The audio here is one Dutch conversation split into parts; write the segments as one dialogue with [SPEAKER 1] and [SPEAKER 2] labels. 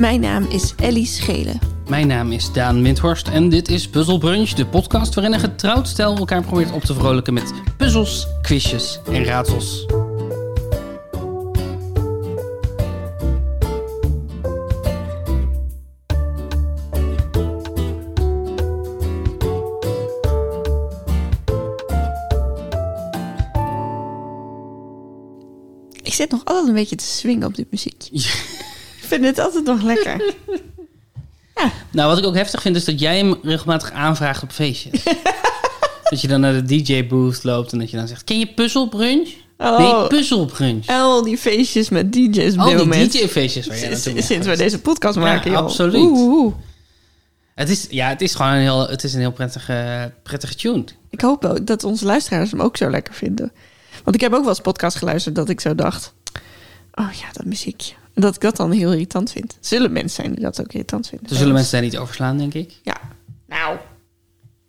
[SPEAKER 1] Mijn naam is Ellie Schelen.
[SPEAKER 2] Mijn naam is Daan Windhorst en dit is Puzzle Brunch, de podcast waarin een getrouwd stel elkaar probeert op te vrolijken met puzzels, quizjes en raadsels.
[SPEAKER 1] Ik zit nog altijd een beetje te swingen op dit muziekje. Ik vind het altijd nog lekker.
[SPEAKER 2] Nou, wat ik ook heftig vind is dat jij hem regelmatig aanvraagt op feestjes. dat je dan naar de DJ-booth loopt en dat je dan zegt, ken je Puzzle Brunch? Nee,
[SPEAKER 1] Oh,
[SPEAKER 2] Puzzle Brunch.
[SPEAKER 1] al die feestjes met DJ's op
[SPEAKER 2] Al
[SPEAKER 1] dit
[SPEAKER 2] die
[SPEAKER 1] moment.
[SPEAKER 2] DJ-feestjes waar jij
[SPEAKER 1] Sinds-
[SPEAKER 2] naartoe bent
[SPEAKER 1] Sinds we
[SPEAKER 2] geweest.
[SPEAKER 1] deze podcast maken, joh.
[SPEAKER 2] absoluut.
[SPEAKER 1] Oeh, oeh, oeh.
[SPEAKER 2] het is, ja, het is gewoon een heel, het is een heel prettige, prettige tune.
[SPEAKER 1] Ik hoop ook dat onze luisteraars hem ook zo lekker vinden. Want ik heb ook wel eens podcast geluisterd dat ik zo dacht... Oh ja, dat muziekje. En Dat ik dat dan heel irritant vind. Zullen mensen zijn die dat ook irritant vinden?
[SPEAKER 2] Er zullen mensen daar niet overslaan, denk ik.
[SPEAKER 1] Ja. Nou,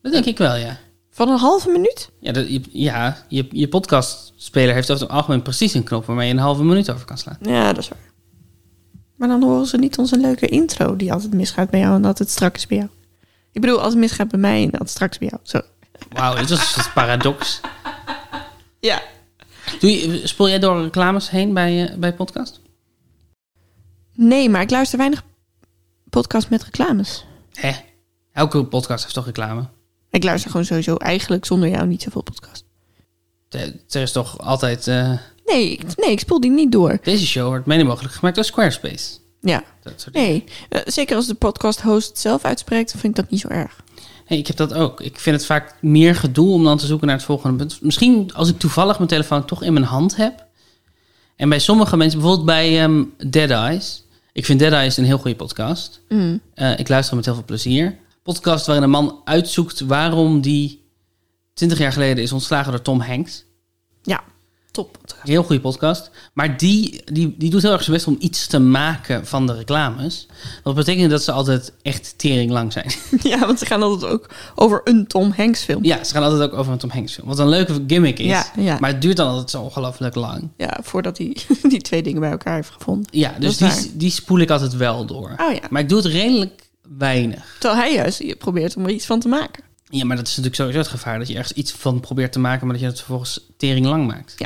[SPEAKER 2] Dat denk ik wel, ja.
[SPEAKER 1] van een halve minuut?
[SPEAKER 2] Ja, dat, je, ja je, je podcastspeler heeft over het algemeen precies een knop waarmee je een halve minuut over kan slaan.
[SPEAKER 1] Ja, dat is waar. Maar dan horen ze niet onze leuke intro die altijd misgaat bij jou en altijd strak is bij jou. Ik bedoel, als het misgaat bij mij en altijd straks bij jou. Zo.
[SPEAKER 2] Wauw, dit was een paradox.
[SPEAKER 1] Ja.
[SPEAKER 2] Doe je, spoel jij door reclames heen bij, eh, bij podcast?
[SPEAKER 1] Nee, maar ik luister weinig podcasts met reclames.
[SPEAKER 2] Hè? Elke podcast heeft toch reclame?
[SPEAKER 1] Ik luister gewoon sowieso eigenlijk zonder jou niet zoveel podcasts.
[SPEAKER 2] Er er is toch altijd... eh,
[SPEAKER 1] Nee, ik, nee, ik spoel die niet door.
[SPEAKER 2] deze show wordt mede mogelijk gemaakt door Squarespace.
[SPEAKER 1] Ja,
[SPEAKER 2] Dat soort
[SPEAKER 1] nee. Eh, zeker als de podcast-host het zelf uitspreekt, vind ik dat niet zo erg.
[SPEAKER 2] Hey, ik heb dat ook. Ik vind het vaak meer gedoe om dan te zoeken naar het volgende punt. Misschien als ik toevallig mijn telefoon toch in mijn hand heb. En bij sommige mensen, bijvoorbeeld bij ehm, Dead Eyes. Ik vind Dead Eyes een heel goede podcast. Eh, ik luister hem met heel veel plezier. Podcast waarin een man uitzoekt waarom die 20 jaar geleden is ontslagen door Tom Hanks.
[SPEAKER 1] Ja, top podcast.
[SPEAKER 2] Heel goede podcast. Maar die, die, die doet heel erg zijn best om iets te maken van de reclames. Dat betekent dat ze altijd echt tering lang zijn.
[SPEAKER 1] Ja, want ze gaan altijd ook over een Tom Hanks film.
[SPEAKER 2] Ja, ze gaan altijd ook over een Tom Hanks film. Wat een leuke gimmick is.
[SPEAKER 1] Ja, ja.
[SPEAKER 2] Maar het duurt dan altijd zo ongelooflijk lang.
[SPEAKER 1] Ja, voordat hij die twee dingen bij elkaar heeft gevonden.
[SPEAKER 2] Ja,
[SPEAKER 1] is
[SPEAKER 2] dus
[SPEAKER 1] waar.
[SPEAKER 2] die, die spoel ik altijd wel door.
[SPEAKER 1] Oh ja.
[SPEAKER 2] Maar ik doe het redelijk weinig.
[SPEAKER 1] Terwijl hij juist je probeert om er iets van te maken.
[SPEAKER 2] Ja, maar dat is natuurlijk sowieso het gevaar. Dat je ergens iets van probeert te maken, maar dat je het vervolgens tering lang maakt.
[SPEAKER 1] Ja.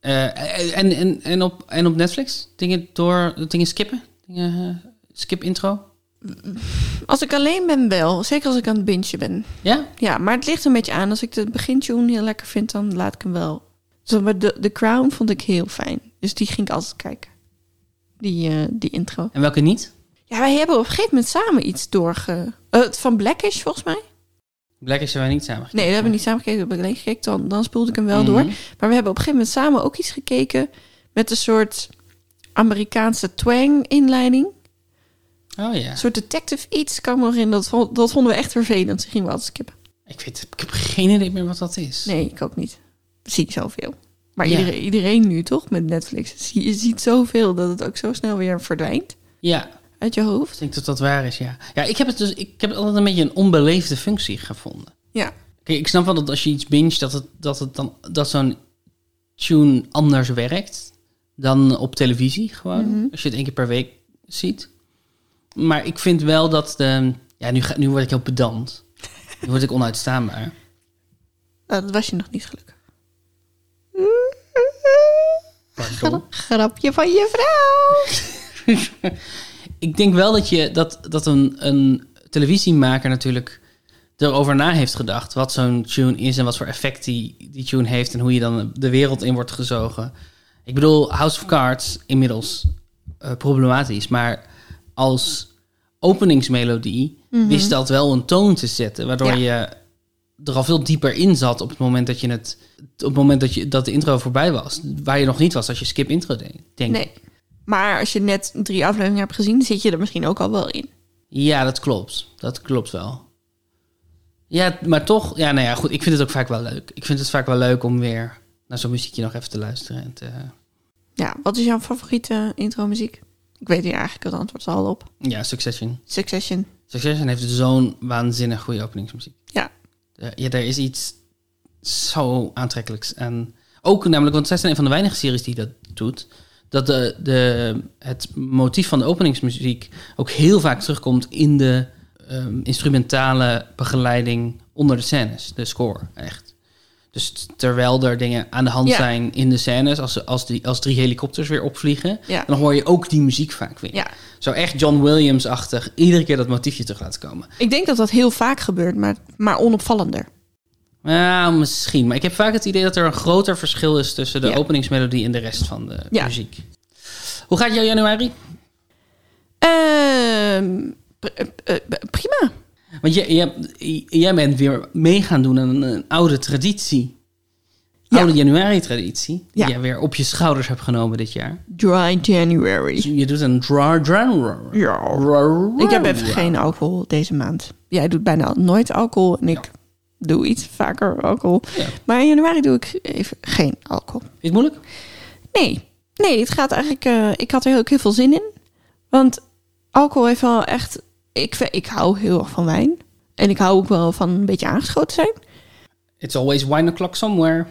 [SPEAKER 2] Eh, en, en, en, op, en op Netflix? Dingen, door, dingen skippen? Dingen, eh, skip intro?
[SPEAKER 1] Als ik alleen ben wel, zeker als ik aan het bintje ben.
[SPEAKER 2] Ja?
[SPEAKER 1] Ja, maar het ligt een beetje aan. Als ik de begintune heel lekker vind, dan laat ik hem wel. Zo, maar de, de Crown vond ik heel fijn. Dus die ging ik altijd kijken. Die, eh, die intro.
[SPEAKER 2] En welke niet?
[SPEAKER 1] Ja, wij hebben op een gegeven moment samen iets doorge... eh, het van Blackish, volgens mij.
[SPEAKER 2] Blijkbaar zijn wij niet samen
[SPEAKER 1] Nee, we hebben niet samen gekeken. We hebben alleen gekeken. Dan, dan spoelde ik hem wel
[SPEAKER 2] Mhm.
[SPEAKER 1] door. Maar we hebben op een gegeven moment samen ook iets gekeken... met een soort Amerikaanse twang-inleiding.
[SPEAKER 2] Oh ja.
[SPEAKER 1] Een soort detective iets, kan ik me nog in. Dat, vond- dat vonden we echt vervelend. Ze gingen we altijd skippen.
[SPEAKER 2] Ik, weet, ik heb geen idee meer wat dat is.
[SPEAKER 1] Nee, ik ook niet. Zie ik zoveel. Maar
[SPEAKER 2] Ja.
[SPEAKER 1] iedereen, iedereen nu toch met Netflix. Je ziet zoveel dat het ook zo snel weer verdwijnt
[SPEAKER 2] Ja.
[SPEAKER 1] uit je hoofd.
[SPEAKER 2] Ik denk dat dat waar is, ja. Ja, ik heb het dus, ik heb het altijd een beetje een onbeleefde functie gevonden.
[SPEAKER 1] Ja.
[SPEAKER 2] Kijk, ik snap wel dat als je iets binge, dat het, dat het dan, dat zo'n tune anders werkt dan op televisie gewoon. Als je het één keer per week ziet. Maar ik vind wel dat, de, ja, nu, ga, nu word ik heel pedant. Nu word ik onuitstaanbaar.
[SPEAKER 1] Nou, dat was je nog niet gelukkig.
[SPEAKER 2] Pardon.
[SPEAKER 1] Grapje van je vrouw.
[SPEAKER 2] ik denk wel dat, je, dat, dat een, een televisiemaker natuurlijk erover na heeft gedacht. Wat zo'n tune is en wat voor effect die, die tune heeft. En hoe je dan de wereld in wordt gezogen. Ik bedoel, House of Cards inmiddels eh, problematisch. Maar als openingsmelodie wist dat wel een toon te zetten. Waardoor je er al veel dieper in zat op het moment dat je het. Op het moment dat, je, dat de intro voorbij was. Waar je nog niet was als je skip intro deed. Denk. ik.
[SPEAKER 1] Nee. Maar als je net drie afleveringen hebt gezien, zit je er misschien ook al wel in.
[SPEAKER 2] Ja, dat klopt. Dat klopt wel. Ja, maar toch, ja, nou ja, goed. Ik vind het ook vaak wel leuk. Ik vind het vaak wel leuk om weer naar zo'n muziekje nog even te luisteren. En te,
[SPEAKER 1] Ja, wat is jouw favoriete intro muziek? Ik weet hier eigenlijk het antwoord al op.
[SPEAKER 2] ja, Succession.
[SPEAKER 1] Succession.
[SPEAKER 2] Succession heeft zo'n waanzinnig goede openingsmuziek.
[SPEAKER 1] Ja.
[SPEAKER 2] Eh, Ja, er is iets zo aantrekkelijks. En ook namelijk, want zij zijn een van de weinige series die dat doet. dat de, de, het motief van de openingsmuziek ook heel vaak terugkomt in de ehm, instrumentale begeleiding onder de scènes, de score echt. Dus t- terwijl er dingen aan de hand
[SPEAKER 1] Ja.
[SPEAKER 2] zijn in de scènes, als, ze- als, die, als drie helikopters weer opvliegen,
[SPEAKER 1] Ja.
[SPEAKER 2] dan hoor je ook die muziek vaak weer.
[SPEAKER 1] Ja.
[SPEAKER 2] Zo echt John Williams-achtig, iedere keer dat motiefje terug laten komen.
[SPEAKER 1] Ik denk dat dat heel vaak gebeurt, maar, maar onopvallender.
[SPEAKER 2] Ja, misschien. Maar ik heb vaak het idee dat er een groter verschil is tussen de
[SPEAKER 1] Ja.
[SPEAKER 2] openingsmelodie en de rest van de
[SPEAKER 1] Ja.
[SPEAKER 2] muziek. Hoe gaat jouw januari?
[SPEAKER 1] Ehm, pr- eh, eh, prima.
[SPEAKER 2] Want jij, jij, jij bent weer mee gaan doen aan een, een oude traditie.
[SPEAKER 1] Ja.
[SPEAKER 2] Oude januari-traditie. Die
[SPEAKER 1] Ja.
[SPEAKER 2] jij weer op je schouders hebt genomen dit jaar. Dus
[SPEAKER 1] Dry January.
[SPEAKER 2] Je doet een draw draw.
[SPEAKER 1] Ja. Ik heb even geen alcohol deze maand. Jij doet bijna nooit alcohol en ik doe iets vaker alcohol.
[SPEAKER 2] Ja.
[SPEAKER 1] Maar in januari doe ik even geen alcohol.
[SPEAKER 2] Is het moeilijk?
[SPEAKER 1] Nee, nee, het gaat eigenlijk. eh, ik had er ook heel veel zin in. Want alcohol heeft wel echt. Ik, ve- ik hou heel erg van wijn. En ik hou ook wel van een beetje aangeschoten zijn.
[SPEAKER 2] It's always wine o'clock somewhere.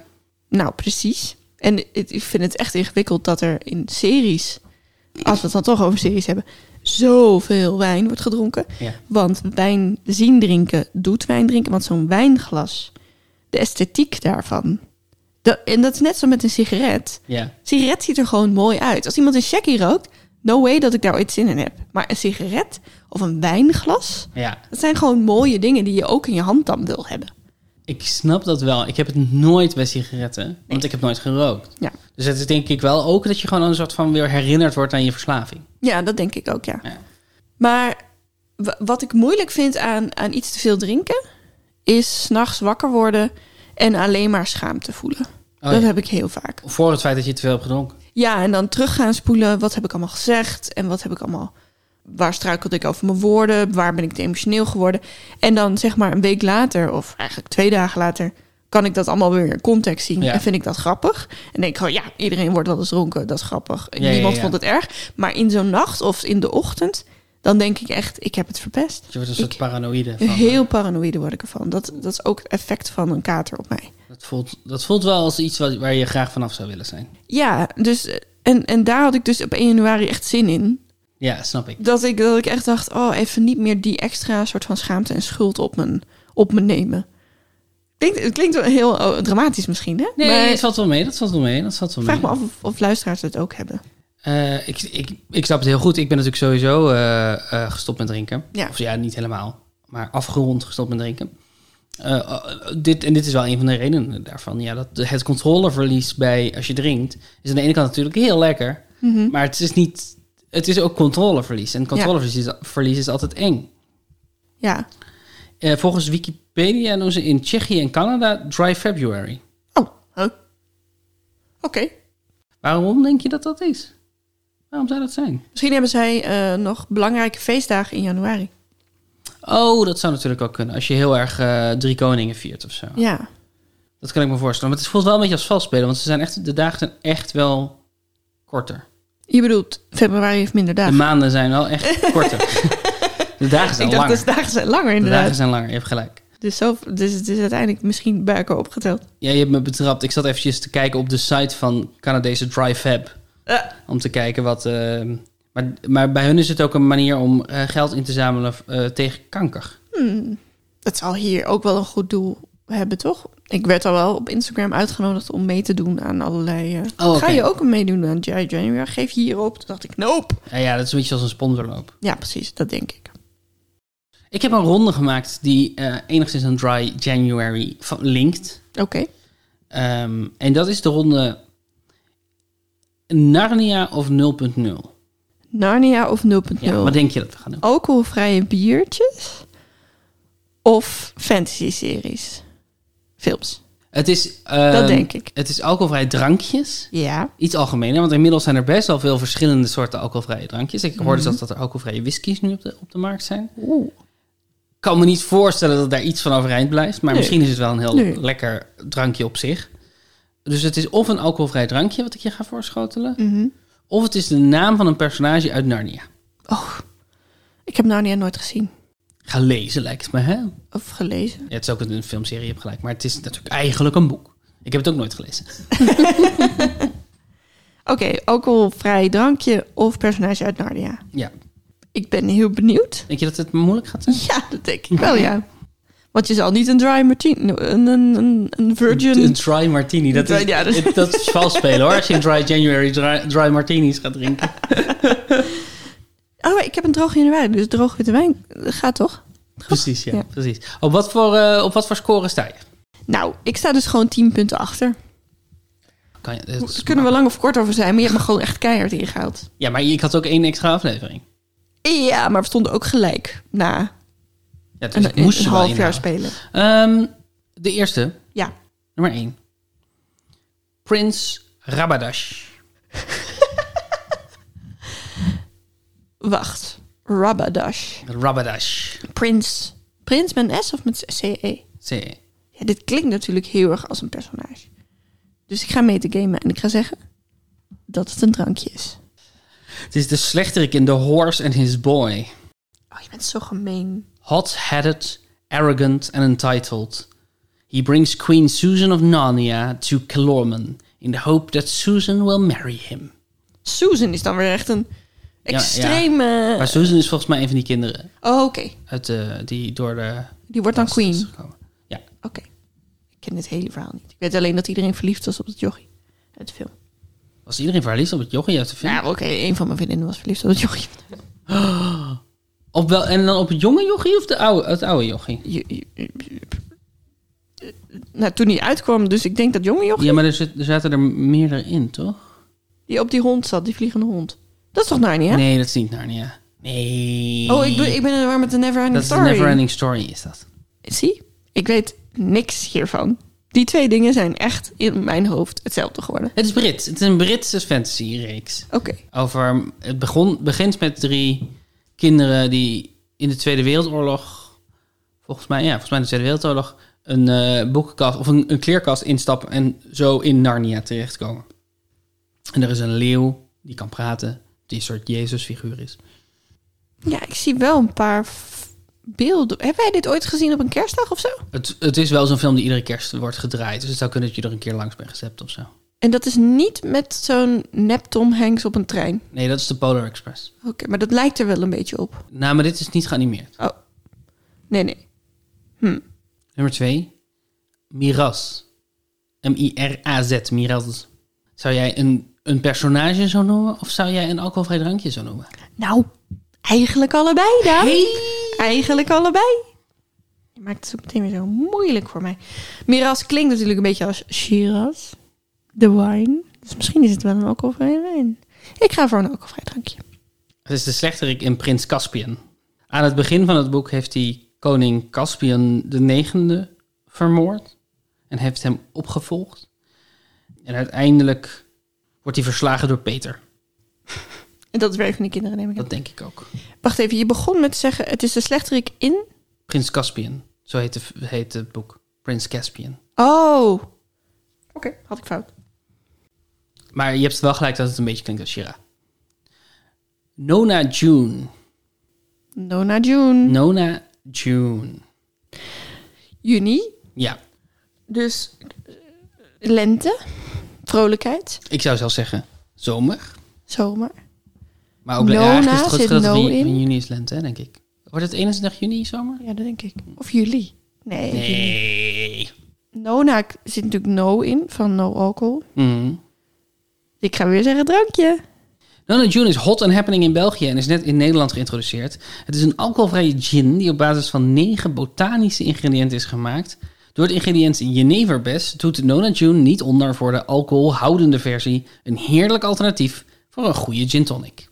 [SPEAKER 1] Nou, precies. En het- ik vind het echt ingewikkeld dat er in series, als we het dan toch over series hebben, zoveel wijn wordt gedronken.
[SPEAKER 2] Ja.
[SPEAKER 1] Want wijn zien drinken doet wijn drinken. Want zo'n wijnglas, de esthetiek daarvan. Dat, en dat is net zo met een sigaret.
[SPEAKER 2] Ja.
[SPEAKER 1] sigaret ziet er gewoon mooi uit. Als iemand een shaggy rookt, no way dat ik daar ooit zin in heb. Maar een sigaret of een wijnglas,
[SPEAKER 2] ja.
[SPEAKER 1] dat zijn gewoon mooie dingen die je ook in je hand dan wil hebben.
[SPEAKER 2] Ik snap dat wel. Ik heb het nooit bij sigaretten. Want ik heb nooit gerookt.
[SPEAKER 1] Ja.
[SPEAKER 2] Dus het is denk ik wel ook dat je gewoon een soort van weer herinnerd wordt aan je verslaving.
[SPEAKER 1] Ja, dat denk ik ook, ja.
[SPEAKER 2] Ja.
[SPEAKER 1] Maar w- wat ik moeilijk vind aan, aan iets te veel drinken, is s'nachts wakker worden en alleen maar schaamte voelen.
[SPEAKER 2] Oh,
[SPEAKER 1] dat
[SPEAKER 2] ja.
[SPEAKER 1] heb ik heel vaak.
[SPEAKER 2] Voor het feit dat je te veel hebt gedronken.
[SPEAKER 1] Ja, en dan terug gaan spoelen. Wat heb ik allemaal gezegd? En wat heb ik allemaal... Waar struikelde ik over mijn woorden? Waar ben ik te emotioneel geworden? En dan zeg maar een week later, of eigenlijk twee dagen later... kan ik dat allemaal weer in context zien.
[SPEAKER 2] Ja.
[SPEAKER 1] En vind ik dat grappig. En denk ik gewoon, ja, iedereen wordt wel eens dronken. Dat is grappig.
[SPEAKER 2] Ja, ja,
[SPEAKER 1] Niemand
[SPEAKER 2] ja.
[SPEAKER 1] vond het erg. Maar in zo'n nacht of in de ochtend... dan denk ik echt, ik heb het verpest.
[SPEAKER 2] Je wordt een soort
[SPEAKER 1] Ik-
[SPEAKER 2] paranoïde. Van, eh.
[SPEAKER 1] Heel paranoïde word ik ervan. Dat, dat is ook het effect van een kater op mij.
[SPEAKER 2] dat, voelt, dat voelt wel als iets wat, waar je graag vanaf zou willen zijn.
[SPEAKER 1] Ja, dus... eh, En, en daar had ik dus op 1 januari echt zin in.
[SPEAKER 2] Ja, snap ik.
[SPEAKER 1] dat ik, dat ik echt dacht, oh, even niet meer die extra soort van schaamte en schuld op me, op me nemen. Klinkt, het klinkt wel heel oh, dramatisch misschien, hè?
[SPEAKER 2] Nee,
[SPEAKER 1] maar
[SPEAKER 2] dat valt wel mee. Dat valt wel mee. Dat valt wel
[SPEAKER 1] vraag
[SPEAKER 2] mee.
[SPEAKER 1] me af of, of luisteraars het ook hebben.
[SPEAKER 2] Eh, ik, ik, ik snap het heel goed. Ik ben natuurlijk sowieso eh, eh, gestopt met drinken.
[SPEAKER 1] Ja.
[SPEAKER 2] Of ja, niet helemaal. Maar afgerond gestopt met drinken. Eh, eh, dit, en dit is wel een van de redenen daarvan. Ja, dat het controleverlies bij als je drinkt... is aan de ene kant natuurlijk heel lekker. Maar het is, niet, het is ook controleverlies. En controleverlies is- verlies is altijd eng.
[SPEAKER 1] Ja.
[SPEAKER 2] Eh, volgens Wikipedia noemen ze in Tsjechië en Canada Dry February.
[SPEAKER 1] Oh, huh. oké.
[SPEAKER 2] Waarom denk je dat dat is? Waarom zou dat zijn?
[SPEAKER 1] Misschien hebben zij eh, nog belangrijke feestdagen in januari.
[SPEAKER 2] Oh, dat zou natuurlijk ook kunnen. Als je heel erg eh, Drie Koningen viert of zo.
[SPEAKER 1] Ja.
[SPEAKER 2] Dat kan ik me voorstellen. Maar het voelt wel een beetje als vastspelen. Want ze zijn echt, de dagen zijn echt wel korter.
[SPEAKER 1] Je bedoelt, februari heeft minder
[SPEAKER 2] De
[SPEAKER 1] dagen.
[SPEAKER 2] maanden zijn wel echt korter. de dagen zijn
[SPEAKER 1] ik dacht,
[SPEAKER 2] langer.
[SPEAKER 1] de dagen zijn langer
[SPEAKER 2] de
[SPEAKER 1] inderdaad.
[SPEAKER 2] dagen zijn langer, je hebt gelijk.
[SPEAKER 1] Dus, zo, dus het is uiteindelijk misschien bij elkaar opgeteld.
[SPEAKER 2] Ja, je hebt me betrapt. Ik zat eventjes te kijken op de site van Canadese DriveHab.
[SPEAKER 1] Eh.
[SPEAKER 2] Om te kijken wat... eh, maar, maar bij hun is het ook een manier om eh, geld in te zamelen eh, tegen kanker.
[SPEAKER 1] dat zal hier ook wel een goed doel hebben, toch? Ik werd al wel op Instagram uitgenodigd om mee te doen aan allerlei... eh,
[SPEAKER 2] Oh, oké.
[SPEAKER 1] Ga je ook meedoen aan J.I. January? Geef hierop. Toen dacht ik, nope.
[SPEAKER 2] Ja, ja, dat is een beetje als een sponsorloop.
[SPEAKER 1] Ja, precies, dat denk ik.
[SPEAKER 2] Ik heb een ronde gemaakt die eh, enigszins aan Dry January van- linkt.
[SPEAKER 1] Oké.
[SPEAKER 2] Ehm, en dat is de ronde Narnia of 0.0.
[SPEAKER 1] Narnia of 0.0?
[SPEAKER 2] Ja, wat denk je dat we gaan doen?
[SPEAKER 1] Alcoholvrije biertjes of fantasy-series? Films.
[SPEAKER 2] Het is, ehm,
[SPEAKER 1] Dat denk ik.
[SPEAKER 2] Het is alcoholvrij drankjes.
[SPEAKER 1] Ja.
[SPEAKER 2] Iets algemener, want inmiddels zijn er best wel veel verschillende soorten alcoholvrije drankjes. Ik
[SPEAKER 1] Mhm.
[SPEAKER 2] hoorde zelfs dat er alcoholvrije whiskies nu op de, op de markt zijn.
[SPEAKER 1] Oeh.
[SPEAKER 2] Ik kan me niet voorstellen dat daar iets van overeind blijft. Maar
[SPEAKER 1] Nee.
[SPEAKER 2] misschien is het wel een heel
[SPEAKER 1] Nee.
[SPEAKER 2] lekker drankje op zich. Dus het is of een alcoholvrij drankje, wat ik je ga voorschotelen.
[SPEAKER 1] Mhm.
[SPEAKER 2] Of het is de naam van een personage uit Narnia.
[SPEAKER 1] Oh, ik heb Narnia nooit gezien
[SPEAKER 2] Ga lezen lijkt me, hè?
[SPEAKER 1] of gelezen.
[SPEAKER 2] Ja, het is ook een filmserie, je hebt gelijk. Maar het is natuurlijk eigenlijk een boek. Ik heb het ook nooit gelezen.
[SPEAKER 1] Oké, alcoholvrij drankje of personage uit Narnia.
[SPEAKER 2] Ja.
[SPEAKER 1] Ik ben heel benieuwd.
[SPEAKER 2] Denk je dat het moeilijk gaat zijn?
[SPEAKER 1] Ja, dat denk ik wel, ja. Want je zal niet een dry martini, een, een, een, een virgin...
[SPEAKER 2] Een dry martini. Dat is,
[SPEAKER 1] Ja, dat-
[SPEAKER 2] het- dat is vals spelen hoor. Als je in dry January dry, dry martinis gaat drinken.
[SPEAKER 1] Oh, maar ik heb een droog januari, dus droog witte wijn eh, gaat toch?
[SPEAKER 2] Precies, ja.
[SPEAKER 1] Ja.
[SPEAKER 2] Precies. Op wat, voor, eh, op wat voor score sta je?
[SPEAKER 1] Nou, ik sta dus gewoon 10 punten achter.
[SPEAKER 2] Kan je het is-
[SPEAKER 1] Daar kunnen we lang of kort over zijn, maar je hebt me gewoon echt keihard ingehaald.
[SPEAKER 2] Ja, maar ik had ook één extra aflevering.
[SPEAKER 1] Ja, maar we stonden ook gelijk na
[SPEAKER 2] Ja, dus
[SPEAKER 1] een,
[SPEAKER 2] ik moest
[SPEAKER 1] een
[SPEAKER 2] je wel
[SPEAKER 1] half jaar spelen.
[SPEAKER 2] inhalen. Ehm, de eerste,
[SPEAKER 1] Ja.
[SPEAKER 2] nummer één. Prins Rabadash.
[SPEAKER 1] Wacht. Rabadash.
[SPEAKER 2] Rabadash.
[SPEAKER 1] Prins. Prins met een S of met CE?
[SPEAKER 2] C.
[SPEAKER 1] Ja, dit klinkt natuurlijk heel erg als een personage. Dus ik ga mee te gamen en ik ga zeggen dat het een drankje is.
[SPEAKER 2] Het is de slechterik in The Horse and His Boy.
[SPEAKER 1] Oh, je bent zo gemeen.
[SPEAKER 2] hot-headed, arrogant, and entitled. He brings Queen Susan of Narnia to Calorman in the hope that Susan will marry him.
[SPEAKER 1] Susan is dan weer echt een
[SPEAKER 2] ja.
[SPEAKER 1] extreem... eh,
[SPEAKER 2] Maar Susan is volgens mij een van die kinderen
[SPEAKER 1] Oh, oké.
[SPEAKER 2] uit de, die door de...
[SPEAKER 1] Die wordt dan queen.
[SPEAKER 2] is
[SPEAKER 1] Oké.
[SPEAKER 2] gekomen. Ja,
[SPEAKER 1] Ik ken dit hele verhaal niet. Ik weet alleen dat iedereen verliefd was op het jochie. Uit de film.
[SPEAKER 2] was iedereen verliefd op het jochie uit de film?
[SPEAKER 1] Ja, oké. een van mijn vriendinnen was verliefd op het jochie.
[SPEAKER 2] Op wel, en dan op het jonge jochie of de oude, het oude jochie?
[SPEAKER 1] Je- je- je- je- Nou, toen hij uitkwam, dus ik denk dat jonge jochie...
[SPEAKER 2] Ja, maar er, zit- er zaten er meerdere in, toch?
[SPEAKER 1] Die op die hond zat, die vliegende hond. Dat is toch Narnia?
[SPEAKER 2] Nee, dat is niet Narnia. Nee.
[SPEAKER 1] Oh, ik, ben- ik ben er waar met de Neverending
[SPEAKER 2] Dat is een
[SPEAKER 1] Story.
[SPEAKER 2] never-ending story, is dat.
[SPEAKER 1] Zie, ik weet niks hiervan. Die twee dingen zijn echt in mijn hoofd hetzelfde geworden.
[SPEAKER 2] Het is Brits. Het is een Britse fantasy-reeks.
[SPEAKER 1] Oké.
[SPEAKER 2] Over, het begon, begint met drie kinderen die in de Tweede Wereldoorlog, volgens mij, ja, volgens mij in de Tweede Wereldoorlog, een eh, boekenkast of een, een kleerkast instappen en zo in Narnia terechtkomen. En er is een leeuw die kan praten, die een soort Jezus-figuur is.
[SPEAKER 1] Ja, ik zie wel een paar f- beelden. Hebben wij dit ooit gezien op een kerstdag of zo?
[SPEAKER 2] Het, het is wel zo'n film die iedere kerst wordt gedraaid, dus het zou kunnen dat je er een keer langs bent gezet of zo.
[SPEAKER 1] En dat is niet met zo'n nep Tom Hanks op een trein.
[SPEAKER 2] Nee, dat is de Polar Express.
[SPEAKER 1] Oké, maar dat lijkt er wel een beetje op.
[SPEAKER 2] Nou, maar dit is niet geanimeerd.
[SPEAKER 1] Oh. Nee, nee.
[SPEAKER 2] Nummer twee, Miraz. M-I-R-A-Z, Miraz. Zou jij een, een personage zo noemen of zou jij een alcoholvrij drankje zo noemen?
[SPEAKER 1] Nou, eigenlijk allebei dan. Eigenlijk allebei. Je maakt het zo meteen weer zo moeilijk voor mij. Miras klinkt natuurlijk een beetje als Shiraz. De wine. Dus misschien is het wel een alcoholvrije wijn. Ik ga voor een alcoholvrij drankje.
[SPEAKER 2] Het is de slechterik in Prins Caspian. Aan het begin van het boek heeft hij koning Caspian de negende vermoord en heeft hem opgevolgd. En uiteindelijk wordt hij verslagen door Peter.
[SPEAKER 1] En dat is weer een van die kinderen, neem ik aan.
[SPEAKER 2] Dat denk ik ook.
[SPEAKER 1] Wacht even, je begon met te zeggen... het is de slechterik in...
[SPEAKER 2] Prins Caspian, zo heet, de, heet het boek. Prins Caspian.
[SPEAKER 1] Oh. Oké, had ik fout.
[SPEAKER 2] Maar je hebt wel gelijk dat het een beetje klinkt als Shira. Nona June.
[SPEAKER 1] Nona June.
[SPEAKER 2] Nona June.
[SPEAKER 1] Juni.
[SPEAKER 2] Ja,
[SPEAKER 1] Dus eh, lente. Vrolijkheid.
[SPEAKER 2] ik zou zelfs zeggen zomer.
[SPEAKER 1] Zomer.
[SPEAKER 2] Maar ook
[SPEAKER 1] Nona
[SPEAKER 2] ja, eigenlijk is het goed
[SPEAKER 1] zit
[SPEAKER 2] dat het
[SPEAKER 1] no
[SPEAKER 2] in,
[SPEAKER 1] in.
[SPEAKER 2] in juni is lente, hè, denk ik. Wordt het 21 juni zomer?
[SPEAKER 1] Ja, dat denk ik. Of juli. Nee, juli.
[SPEAKER 2] Nee.
[SPEAKER 1] Nona k- zit natuurlijk no in, van no alcohol.
[SPEAKER 2] Mhm.
[SPEAKER 1] Ik ga weer zeggen drankje.
[SPEAKER 2] Nona June Nou, is hot and happening in België en is net in Nederland geïntroduceerd. Het is een alcoholvrije gin die op basis van negen botanische ingrediënten is gemaakt. Door het ingrediënt jeneverbes doet Nona June niet onder voor de alcoholhoudende versie. Een heerlijk alternatief voor een goede gin tonic.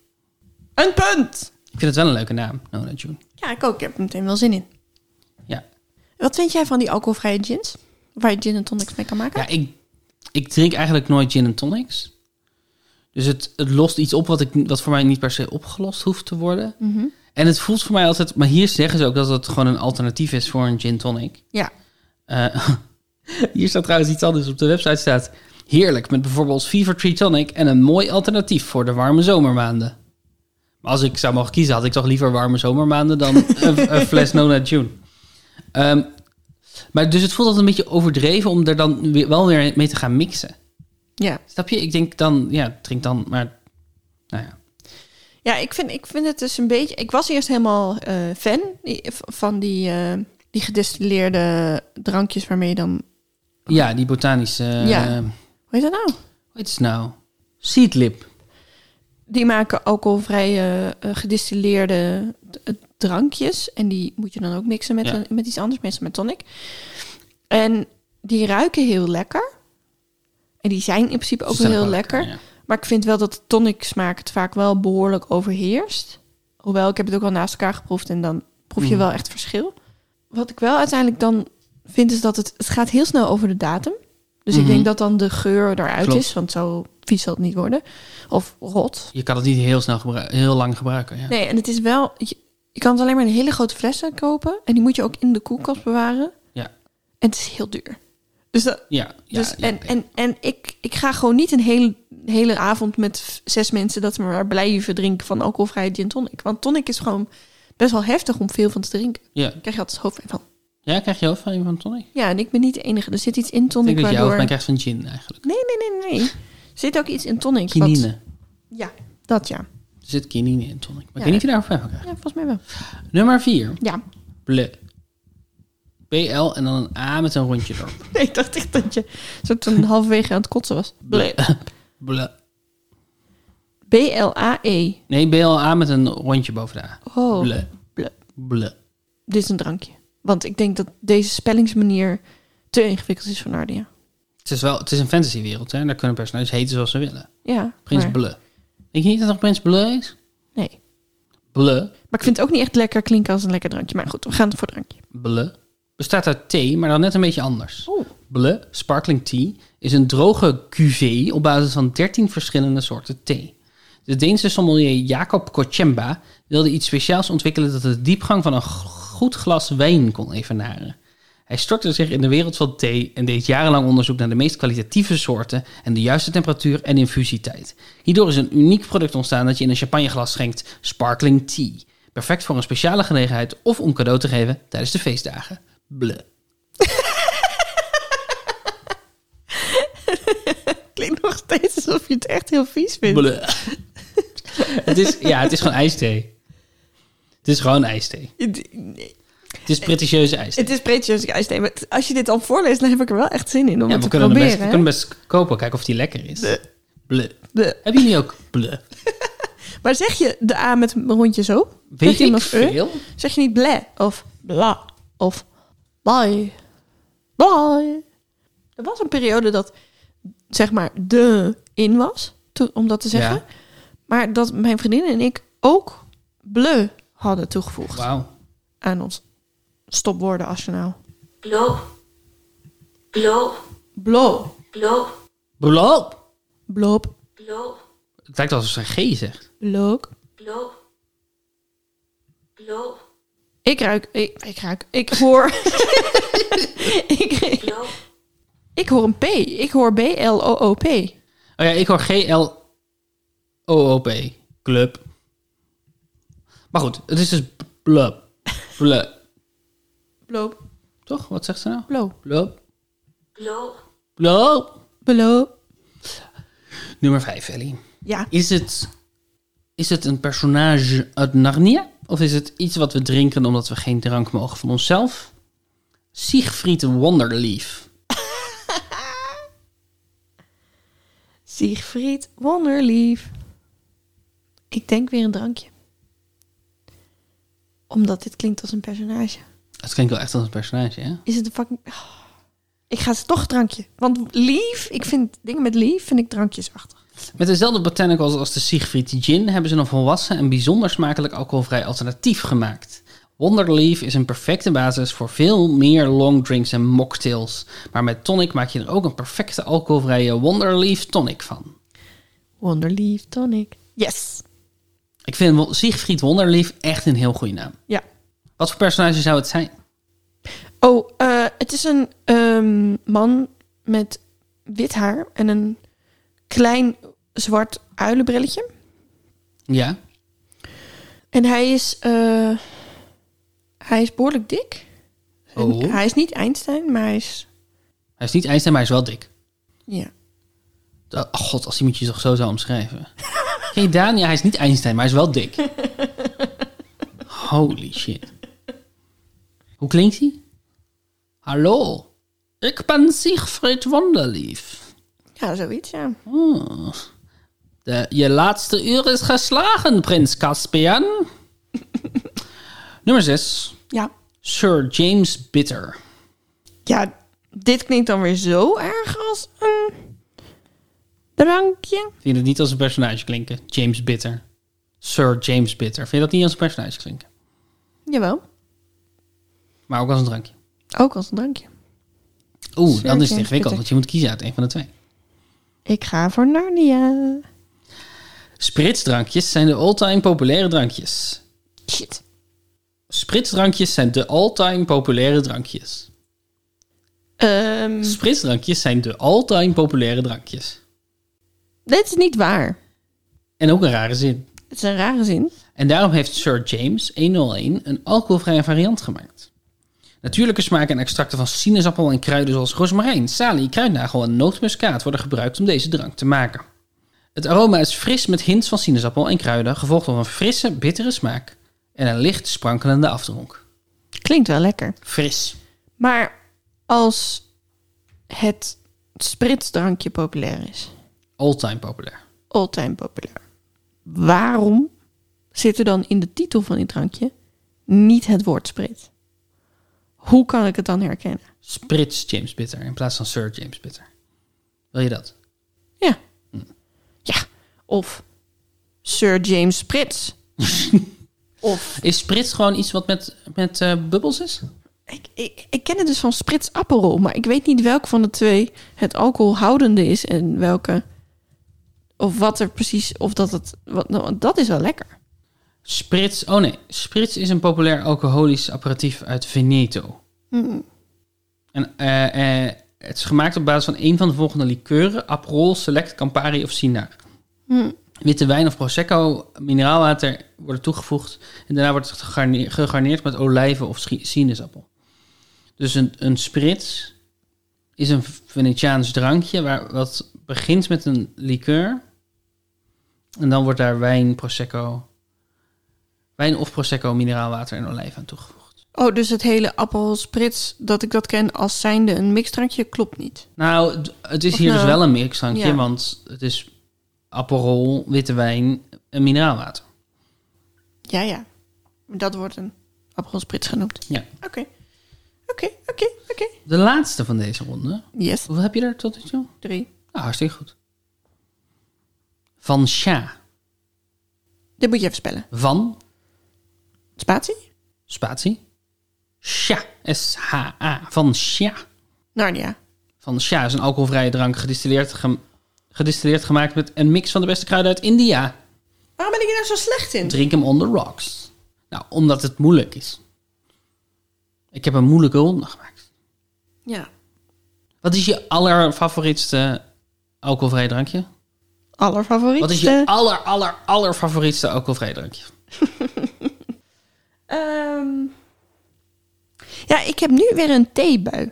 [SPEAKER 1] Een punt!
[SPEAKER 2] Ik vind het wel een leuke naam, Nona June.
[SPEAKER 1] Ja, ik ook. Ik heb er meteen wel zin in.
[SPEAKER 2] Ja.
[SPEAKER 1] Wat vind jij van die alcoholvrije gins? Waar je gin en tonics mee kan maken?
[SPEAKER 2] Ja, ik, ik drink eigenlijk nooit gin en tonics. Dus het, het lost iets op wat, ik, wat voor mij niet per se opgelost hoeft te worden. En het voelt voor mij altijd... Maar hier zeggen ze ook dat het gewoon een alternatief is voor een gin tonic.
[SPEAKER 1] Ja.
[SPEAKER 2] Eh, hier staat trouwens iets anders op de website staat... Heerlijk, met bijvoorbeeld Fever Tree Tonic en een mooi alternatief voor de warme zomermaanden. Maar als ik zou mogen kiezen, had ik toch liever warme zomermaanden dan een, een fles Nona June. Ehm, maar dus het voelt altijd een beetje overdreven om er dan weer- wel weer mee te gaan mixen.
[SPEAKER 1] Ja.
[SPEAKER 2] Snap je? Ik denk dan, ja, drink dan, maar nou ja.
[SPEAKER 1] Ja, ik vind, ik vind het dus een beetje. Ik was eerst helemaal eh, fan die- v- van die, eh, die gedistilleerde drankjes waarmee je dan.
[SPEAKER 2] Ja, die botanische, eh,
[SPEAKER 1] Ja.
[SPEAKER 2] hoe
[SPEAKER 1] Hoe heet dat nou?
[SPEAKER 2] heet het nou? Seedlip.
[SPEAKER 1] Die maken alcoholvrije eh, gedistilleerde eh, drankjes. En die moet je dan ook mixen met,
[SPEAKER 2] Ja.
[SPEAKER 1] een- met iets anders, meestal met tonic. En die ruiken heel lekker. En die zijn in principe ook
[SPEAKER 2] Ze staan
[SPEAKER 1] heel
[SPEAKER 2] wel
[SPEAKER 1] lekker.
[SPEAKER 2] ja.
[SPEAKER 1] Maar ik vind wel dat de tonic smaak het vaak wel behoorlijk overheerst. Hoewel, ik heb het ook wel naast elkaar geproefd en dan proef je
[SPEAKER 2] Mm.
[SPEAKER 1] wel echt verschil. Wat ik wel uiteindelijk dan vind is dat het, het gaat heel snel over de datum. Dus
[SPEAKER 2] Mhm.
[SPEAKER 1] ik denk dat dan de geur eruit
[SPEAKER 2] Klopt.
[SPEAKER 1] is, want zo vies zal het niet worden. Of rot.
[SPEAKER 2] Je kan het niet heel snel gebruiken, heel lang gebruiken. Ja.
[SPEAKER 1] Nee, en het is wel... Je, je kan het alleen maar in hele grote flessen kopen. En die moet je ook in de koelkast bewaren.
[SPEAKER 2] Ja.
[SPEAKER 1] En het is heel duur. Dus dat,
[SPEAKER 2] Ja, ja,
[SPEAKER 1] dus,
[SPEAKER 2] ja,
[SPEAKER 1] en,
[SPEAKER 2] ja.
[SPEAKER 1] en, en ik, ik ga gewoon niet een hele, hele avond met v- zes mensen dat we maar blijven drinken van alcoholvrije gin tonic. Want tonic is gewoon best wel heftig om veel van te drinken.
[SPEAKER 2] ja.
[SPEAKER 1] Daar krijg je altijd hoofdpijn van.
[SPEAKER 2] Ja, krijg je hoofdpijn van tonic?
[SPEAKER 1] Ja, en ik ben niet de enige. Er zit iets in
[SPEAKER 2] Ik
[SPEAKER 1] tonic
[SPEAKER 2] denk dat je
[SPEAKER 1] waardoor...
[SPEAKER 2] hoofdpijn krijgt van gin eigenlijk.
[SPEAKER 1] Nee, nee, nee, nee. Er zit ook iets in tonic. wat-
[SPEAKER 2] Kinine.
[SPEAKER 1] Ja, dat ja.
[SPEAKER 2] Er zit kinine in tonic. Maar
[SPEAKER 1] Ja.
[SPEAKER 2] ik weet niet of je daar hoofdpijn van krijgt.
[SPEAKER 1] Ja, volgens mij wel.
[SPEAKER 2] Nummer 4.
[SPEAKER 1] Ja,
[SPEAKER 2] Ble. BL en dan een A met een rondje erop.
[SPEAKER 1] ik dacht echt dat je soort van halverwege aan het kotsen was. Ble-
[SPEAKER 2] Ble.
[SPEAKER 1] B-L-A-E.
[SPEAKER 2] Nee, BLA met een rondje boven de A.
[SPEAKER 1] E. Oh,
[SPEAKER 2] Ble.
[SPEAKER 1] Ble.
[SPEAKER 2] Ble.
[SPEAKER 1] dit is een drankje. Want ik denk dat deze spellingsmanier te ingewikkeld is voor Nardia.
[SPEAKER 2] Het is, wel, het is een fantasywereld, hè? Daar kunnen personages heten zoals ze willen.
[SPEAKER 1] Ja,
[SPEAKER 2] Prins
[SPEAKER 1] maar-
[SPEAKER 2] Ble. Denk je niet dat het nog Prins Ble is?
[SPEAKER 1] Nee.
[SPEAKER 2] Ble.
[SPEAKER 1] Maar ik vind het ook niet echt lekker klinken als een lekker drankje. Maar goed, we gaan voor drankje.
[SPEAKER 2] Ble. Bestaat uit thee, maar dan net een beetje anders.
[SPEAKER 1] Oeh.
[SPEAKER 2] Ble, sparkling tea, is een droge cuvée op basis van 13 verschillende soorten thee. De Deense sommelier Jacob Kochemba wilde iets speciaals ontwikkelen dat de diepgang van een g- goed glas wijn kon evenaren. Hij stortte zich in de wereld van thee en deed jarenlang onderzoek naar de meest kwalitatieve soorten en de juiste temperatuur en infusietijd. Hierdoor is een uniek product ontstaan dat je in een champagneglas schenkt, sparkling tea. Perfect voor een speciale gelegenheid of om cadeau te geven tijdens de feestdagen. Ble.
[SPEAKER 1] Klinkt nog steeds alsof je het echt heel vies vindt.
[SPEAKER 2] Bleh. het is, ja, het is gewoon ijsthee. Het is gewoon ijsthee.
[SPEAKER 1] Het- nee.
[SPEAKER 2] Het is pretentieuze ijsthee.
[SPEAKER 1] Het is pretentieus ijsthee, maar het- als je dit al voorleest, dan heb ik er wel echt zin in om
[SPEAKER 2] Ja,
[SPEAKER 1] het
[SPEAKER 2] we
[SPEAKER 1] te
[SPEAKER 2] kunnen, hem
[SPEAKER 1] proberen.
[SPEAKER 2] best, we
[SPEAKER 1] hè?
[SPEAKER 2] kunnen best kopen, kijken of die lekker is.
[SPEAKER 1] Bleh.
[SPEAKER 2] Bleh.
[SPEAKER 1] De-
[SPEAKER 2] Hebben jullie ook bleh?
[SPEAKER 1] maar zeg je de A met een rondje zo? Zeg
[SPEAKER 2] Weet
[SPEAKER 1] je hem
[SPEAKER 2] ik
[SPEAKER 1] als e?
[SPEAKER 2] veel?
[SPEAKER 1] Zeg je niet ble of bla of bye. Bye. Er was een periode dat zeg maar de in was, to- om dat te zeggen.
[SPEAKER 2] Ja.
[SPEAKER 1] Maar dat mijn vriendin en ik ook ble hadden toegevoegd
[SPEAKER 2] Wauw.
[SPEAKER 1] aan ons stopwoordenarsenaal.
[SPEAKER 3] Blow. Blow.
[SPEAKER 1] Blo,
[SPEAKER 3] Blow.
[SPEAKER 2] Blop.
[SPEAKER 1] blop,
[SPEAKER 3] Blow.
[SPEAKER 2] Het lijkt alsof ze een G zegt.
[SPEAKER 1] blok.
[SPEAKER 3] Blow. Blow.
[SPEAKER 1] Ik ruik, ik, ik ruik, ik hoor... ik,
[SPEAKER 3] Blow.
[SPEAKER 1] ik hoor een P. Ik hoor B-L-O-O-P.
[SPEAKER 2] Oh ja, ik hoor G-L-O-O-P. Club. Maar goed, het is dus blub. Blub.
[SPEAKER 1] Blop,
[SPEAKER 2] Toch? Wat zegt ze nou?
[SPEAKER 1] blo,
[SPEAKER 2] Blub.
[SPEAKER 3] Blow.
[SPEAKER 2] Blub.
[SPEAKER 1] blo.
[SPEAKER 2] Nummer 5, Ellie.
[SPEAKER 1] Ja,
[SPEAKER 2] Is het, is het een personage uit Narnia? Of is het iets wat we drinken omdat we geen drank mogen van onszelf? Siegfried Wonderleaf.
[SPEAKER 1] Siegfried Wonderlief. Ik denk weer een drankje. Omdat dit klinkt als een personage.
[SPEAKER 2] Het klinkt wel echt als een personage, hè?
[SPEAKER 1] Is het een fucking... Oh. Ik ga ze toch drankje. Want lief, ik vind dingen met lief, vind ik drankjesachtig.
[SPEAKER 2] Met dezelfde botanicals als de Siegfried Gin hebben ze een volwassen en bijzonder smakelijk alcoholvrij alternatief gemaakt. Wonderleaf is een perfecte basis voor veel meer long drinks en mocktails. Maar met tonic maak je er ook een perfecte alcoholvrije Wonderleaf tonic van.
[SPEAKER 1] Wonderlief tonic. Yes.
[SPEAKER 2] Ik vind Wo- Siegfried Wonderleaf echt een heel goede naam.
[SPEAKER 1] Ja.
[SPEAKER 2] Wat voor personage zou het zijn?
[SPEAKER 1] Oh, eh, het is een ehm, man met wit haar en een klein zwart uilenbrilletje.
[SPEAKER 2] Ja.
[SPEAKER 1] En hij is, eh, hij is behoorlijk dik.
[SPEAKER 2] Oh.
[SPEAKER 1] Hij is niet Einstein, maar hij is...
[SPEAKER 2] Hij is niet Einstein, maar hij is wel dik.
[SPEAKER 1] Ja.
[SPEAKER 2] Dat- oh god, als iemand je toch zo zou omschrijven. Ken je Daan? Ja, hij is niet Einstein, maar hij is wel dik. Holy shit. Hoe klinkt hij? Hallo, ik ben Siegfried Wonderlief.
[SPEAKER 1] Ja, zoiets, ja.
[SPEAKER 2] Oh. De, je laatste uur is geslagen, prins Caspian. Nummer 6.
[SPEAKER 1] Ja.
[SPEAKER 2] Sir James Bitter.
[SPEAKER 1] Ja, dit klinkt dan weer zo erg als een drankje.
[SPEAKER 2] Vind je dat niet als een personage klinken? James Bitter. Sir James Bitter. Vind je dat niet als een personage klinken?
[SPEAKER 1] Jawel,
[SPEAKER 2] Maar ook als een drankje.
[SPEAKER 1] ook als een drankje.
[SPEAKER 2] Oeh,
[SPEAKER 1] Sir
[SPEAKER 2] dan is het
[SPEAKER 1] James
[SPEAKER 2] ingewikkeld,
[SPEAKER 1] Bitter.
[SPEAKER 2] want je moet kiezen uit een van de twee.
[SPEAKER 1] Ik ga voor Narnia.
[SPEAKER 2] Spritsdrankjes zijn de all-time populaire drankjes.
[SPEAKER 1] Shit.
[SPEAKER 2] Spritsdrankjes zijn de all-time populaire drankjes.
[SPEAKER 1] Ehm,
[SPEAKER 2] Spritsdrankjes zijn de all-time populaire drankjes.
[SPEAKER 1] dit is niet waar.
[SPEAKER 2] En ook een rare zin.
[SPEAKER 1] Het is een rare zin.
[SPEAKER 2] En daarom heeft Sir James 101 een alcoholvrije variant gemaakt. Natuurlijke smaken en extracten van sinaasappel en kruiden zoals rozemarijn, salie, kruidnagel en nootmuskaat worden gebruikt om deze drank te maken. Het aroma is fris met hints van sinaasappel en kruiden, gevolgd door een frisse, bittere smaak en een licht sprankelende afdronk.
[SPEAKER 1] Klinkt wel lekker.
[SPEAKER 2] Fris.
[SPEAKER 1] Maar als het spritsdrankje populair is,
[SPEAKER 2] All-time populair.
[SPEAKER 1] all-time populair, waarom zit er dan in de titel van dit drankje niet het woord sprit? Hoe kan ik het dan herkennen?
[SPEAKER 2] Sprits James Bitter in plaats van Sir James Bitter. Wil je dat?
[SPEAKER 1] Ja. Ja. Of Sir James Spritz. of
[SPEAKER 2] Is sprits gewoon iets wat met, met eh, bubbels is?
[SPEAKER 1] ik, ik, ik ken het dus van Spritz Aperol, maar ik weet niet welke van de twee het alcoholhoudende is en welke of wat er precies of dat het wat nou, want dat is wel lekker.
[SPEAKER 2] Spritz, oh nee, Spritz is een populair alcoholisch apparatief uit Veneto. En eh, eh, het is gemaakt op basis van een van de volgende likeuren: Aperol, Select, Campari of Sinar. Witte wijn of prosecco, mineraalwater worden toegevoegd en daarna wordt het gegarne- gegarneerd met olijven of schi- sinaasappel. Dus een, een Spritz is een Venetiaans drankje waar, wat begint met een likeur en dan wordt daar wijn, prosecco, Wijn of prosecco, mineraalwater en olijf aan toegevoegd.
[SPEAKER 1] Oh, dus het hele Aperol Spritz dat ik dat ken als zijnde een mixdrankje klopt niet.
[SPEAKER 2] Nou, d- het is
[SPEAKER 1] Of
[SPEAKER 2] hier dus
[SPEAKER 1] nou-
[SPEAKER 2] wel een mixdrankje,
[SPEAKER 1] Ja.
[SPEAKER 2] want het is aperol, witte wijn en mineraalwater.
[SPEAKER 1] Ja, ja. Dat wordt een Aperol Spritz genoemd.
[SPEAKER 2] Ja.
[SPEAKER 1] Oké. Oké, oké, oké.
[SPEAKER 2] De laatste van deze ronde.
[SPEAKER 1] Yes.
[SPEAKER 2] Hoeveel heb je er tot nu toe?
[SPEAKER 1] Drie.
[SPEAKER 2] Nou, hartstikke goed. Van Sha.
[SPEAKER 1] Dit moet je even spellen.
[SPEAKER 2] Van,
[SPEAKER 1] Spatie?
[SPEAKER 2] spatie, Sha. S-H-A. Van Sha.
[SPEAKER 1] Narnia.
[SPEAKER 2] Van Sha is een alcoholvrije drank gedistilleerd, gem- gedistilleerd gemaakt met een mix van de beste kruiden uit India.
[SPEAKER 1] Waarom ben ik er nou zo slecht in?
[SPEAKER 2] Drink hem on the rocks. Nou, omdat het moeilijk is. Ik heb een moeilijke ronde gemaakt.
[SPEAKER 1] Ja.
[SPEAKER 2] Wat is je allerfavorietste alcoholvrij drankje?
[SPEAKER 1] Allerfavoriet.
[SPEAKER 2] Wat is je aller, aller, aller favorietste alcoholvrij drankje?
[SPEAKER 1] Ehm, ja, ik heb nu weer een theebui.